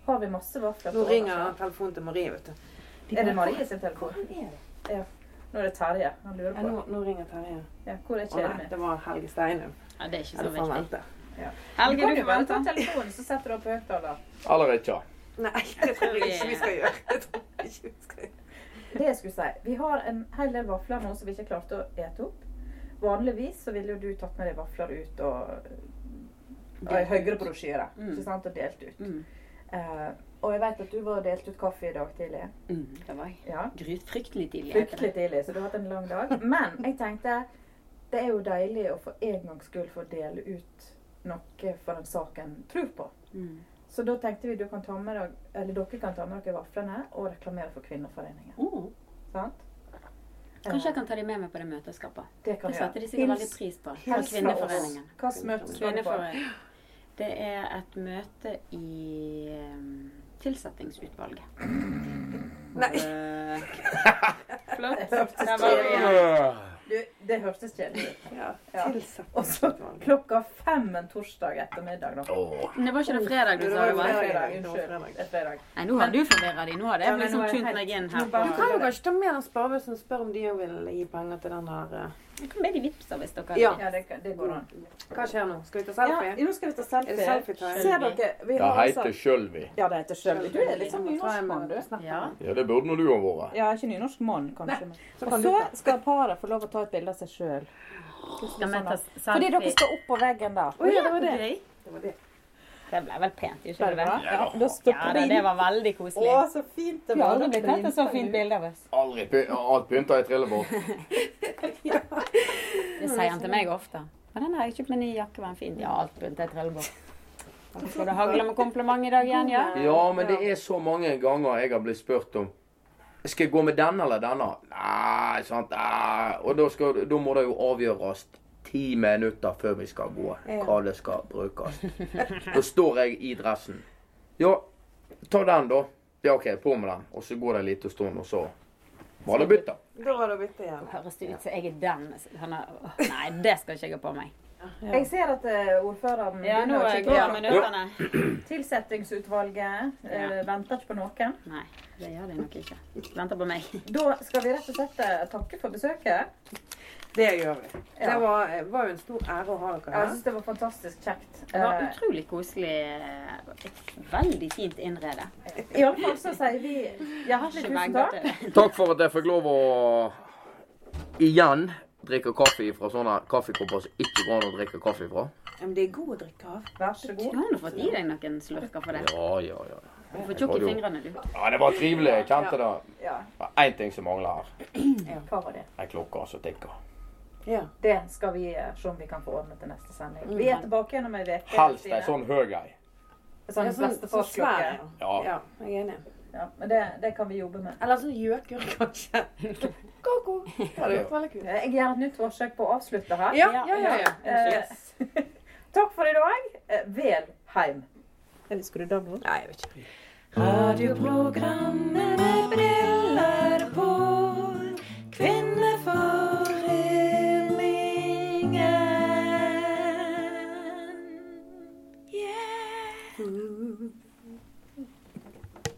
Speaker 1: har vi masse vafler. på
Speaker 2: Nå ringer
Speaker 1: overskjell.
Speaker 2: telefonen til Marie, vet du.
Speaker 1: Er det Marie sin telefon? Nå er det Terje. Han lurer
Speaker 2: Ja,
Speaker 1: på
Speaker 2: nå, nå ringer Terje.
Speaker 1: ja, hvor er
Speaker 2: Å nei,
Speaker 1: Kjemi.
Speaker 2: det var Helge Steinum.
Speaker 4: Ja, det er ikke
Speaker 2: Ja,
Speaker 4: så
Speaker 2: det får han
Speaker 4: viktig.
Speaker 2: vente.
Speaker 1: Du
Speaker 4: Helge,
Speaker 1: kan
Speaker 4: du
Speaker 1: jo
Speaker 4: får
Speaker 1: bare ta
Speaker 4: vente.
Speaker 1: telefonen, så setter du opp høyttaler.
Speaker 3: Eller ikke?
Speaker 2: Nei, det tror jeg ikke vi skal gjøre. Det tror jeg ikke vi skal gjøre.
Speaker 1: Det jeg skulle si, vi har en hel del vafler nå som vi ikke klarte å ete opp. Vanligvis så ville jo du tatt med deg vafler ut og, og i høyere brosjyre
Speaker 4: Mm.
Speaker 1: ikke sant, og delt ut.
Speaker 4: Mm.
Speaker 1: Eh, og jeg vet at du var og delte ut kaffe i dag tidlig.
Speaker 4: Mm, det var jeg.
Speaker 1: Ja.
Speaker 4: Gryt fryktelig tidlig. heter
Speaker 1: Fryktelig tidlig, så du har hatt en lang dag. Men jeg tenkte det er jo deilig å for en gangs skyld få dele ut noe for den saken tror på.
Speaker 4: det. Mm.
Speaker 1: Så da tenkte vi du kan ta med deg, eller dere kan ta med dere vaflene og reklamere for Kvinneforeningen.
Speaker 4: Å,
Speaker 1: Sant?
Speaker 4: Oh. kanskje jeg
Speaker 1: Eh,
Speaker 4: kan ta de med meg på det møtet jeg skal på.
Speaker 1: det kan
Speaker 4: Det
Speaker 1: vi
Speaker 4: setter de
Speaker 1: gjøre.
Speaker 4: sikkert veldig pris på. Fra
Speaker 1: hils fra
Speaker 4: Kvinneforeningen.
Speaker 1: oss. Hva møte skal du på?
Speaker 4: Kvinneforeningen. Det er et møte i um, tilsettingsutvalget.
Speaker 2: Nei.
Speaker 4: Eh, (laughs) Flott.
Speaker 1: hørtes
Speaker 4: Der var vi igjen.
Speaker 3: Ja.
Speaker 1: Du, det hørtes kjedelig ut.
Speaker 2: Ja,
Speaker 1: Ja.
Speaker 2: tilsatt
Speaker 1: Og så klokka fem en torsdag ettermiddag, da.
Speaker 3: Åh.
Speaker 4: Men det var ikke det fredag du
Speaker 2: Det
Speaker 4: sa
Speaker 2: var
Speaker 4: det var?
Speaker 2: fredag. Det var
Speaker 1: Unnskyld.
Speaker 2: fredag.
Speaker 1: Det er fredag.
Speaker 4: Nei, nå har du forvirra de. Nå har det
Speaker 1: Ja, men
Speaker 4: liksom
Speaker 1: nå er jeg
Speaker 4: tunt
Speaker 1: helt-
Speaker 4: meg inn
Speaker 1: nå
Speaker 4: her.
Speaker 1: bare-
Speaker 2: Du kan jo kanskje ta med den sparebussen og spørre om de òg vil gi penger til den her eh,
Speaker 4: Jeg kan be de vippser hvis dere
Speaker 2: Ja.
Speaker 1: Ja, det, det går an.
Speaker 2: Hva skjer nå? Skal vi ta
Speaker 1: Ja,
Speaker 2: selfie?
Speaker 1: nå skal vi ta
Speaker 2: Er det
Speaker 1: selfie.
Speaker 2: selfie-time?
Speaker 1: Ser dere, vi
Speaker 3: Det
Speaker 1: har altså
Speaker 3: heter Sjølvi.
Speaker 1: Ja, det heter Sjølvi. Du er liksom nynorskmann, du.
Speaker 4: Ja.
Speaker 3: Ja, det burde nå du ha vært.
Speaker 1: Ja, ikke nynorsk mann, kanskje. men-
Speaker 2: Så
Speaker 1: Og
Speaker 2: kan du
Speaker 1: så
Speaker 2: ta.
Speaker 1: skal paret få lov å ta et bilde av seg sjøl.
Speaker 4: Skal vi ta
Speaker 1: Fordi dere
Speaker 4: selfie?
Speaker 1: skal opp på veggen der.
Speaker 2: Å ja, det var det.
Speaker 4: Gøy.
Speaker 2: Det var det.
Speaker 4: Det ble vel pent, gjorde
Speaker 1: Ble
Speaker 4: ikke
Speaker 1: det
Speaker 4: det?
Speaker 1: bra?
Speaker 4: vel?
Speaker 1: Ja, da
Speaker 4: Ja
Speaker 1: stopper
Speaker 4: da,
Speaker 1: vi
Speaker 4: det
Speaker 1: inn.
Speaker 4: var veldig koselig.
Speaker 1: Å, så fint det
Speaker 4: Vi har
Speaker 1: var.
Speaker 4: aldri blitt tatt et så fint bilde av oss.
Speaker 3: Aldri py alt pynta i trillebår.
Speaker 4: Det sier han til meg ofte. Men den har jeg kjøpt med ny jakke, var den fin? Ja, alt buntet i trillebår. Skal det hagle med kompliment i dag igjen, ja?
Speaker 3: Ja, men det er så mange ganger jeg har blitt spurt om skal jeg gå med denne eller denne? Nei, sant? Nei. Og da, skal, da må det jo avgjøres ti minutter før vi skal gå, hva det skal brukes. Da står jeg i dressen. Ja, ta den, da. Ja, OK, på med den. Og så går det en liten stund, og så var det bytta.
Speaker 2: Da var det å bytte igjen.
Speaker 4: Høres det ut som jeg er den? Han er, nei, det skal ikke jeg ha på meg.
Speaker 1: Jeg ser at eh, ordføreren
Speaker 4: Ja,
Speaker 1: begynner
Speaker 4: nå
Speaker 1: å
Speaker 4: er jeg
Speaker 1: kikke
Speaker 4: glad
Speaker 1: på-
Speaker 4: minuttene.
Speaker 1: Tilsettingsutvalget eh, venter ikke på noen.
Speaker 4: Nei, det gjør de nok ikke. Venter på meg.
Speaker 1: Da skal vi rett og slett eh, takke for besøket.
Speaker 2: Det gjør vi. Det
Speaker 1: Ja.
Speaker 2: var, eh, var jo en stor ære å ha dere
Speaker 1: Jeg
Speaker 2: her.
Speaker 1: syns det var fantastisk kjekt.
Speaker 4: Det var
Speaker 1: Eh,
Speaker 4: utrolig koselig. Et veldig fint innredet.
Speaker 1: Iallfall så sier vi hjertelig tusen takk.
Speaker 3: Takk for at jeg fikk lov å igjen drikke kaffe fra sånne kaffekopper som ikke går an å drikke kaffe fra.
Speaker 2: Men det er god å drikke av.
Speaker 1: Vær så god.
Speaker 4: Du har nå fått i deg noen slurker for det.
Speaker 3: Ja, ja, ja.
Speaker 4: Du får tjukk i fingrene, du.
Speaker 3: Ja, Det var trivelig. Jeg kjente det.
Speaker 1: Ja,
Speaker 3: Det var én ting som mangler her.
Speaker 1: hva var det?
Speaker 3: Ei klokke som tikker.
Speaker 2: Ja.
Speaker 1: Det skal vi eh, se om vi kan få ordnet til neste sending. Vi er tilbake igjen om ei uke.
Speaker 3: Helst ei sånn høy ei.
Speaker 1: Sånn
Speaker 2: Ja, sånn, sånn svær.
Speaker 1: bestefars-klokke.
Speaker 3: Ja.
Speaker 2: Ja, jeg er enig.
Speaker 1: Ja, men det, det kan vi jobbe med.
Speaker 2: Eller sånn gjøkur, kanskje. (laughs) Ko-ko. Det hadde vært veldig kult.
Speaker 1: Eh, Jeg gjør et nytt forsøk på å avslutte her.
Speaker 2: Ja, ja, ja. ja.
Speaker 1: Eh, (laughs) takk for i dag. Eh, Vel heim.
Speaker 2: Eh, Eller skulle du da noe? Nei, jeg vet ikke.
Speaker 5: Radioprogrammet med briller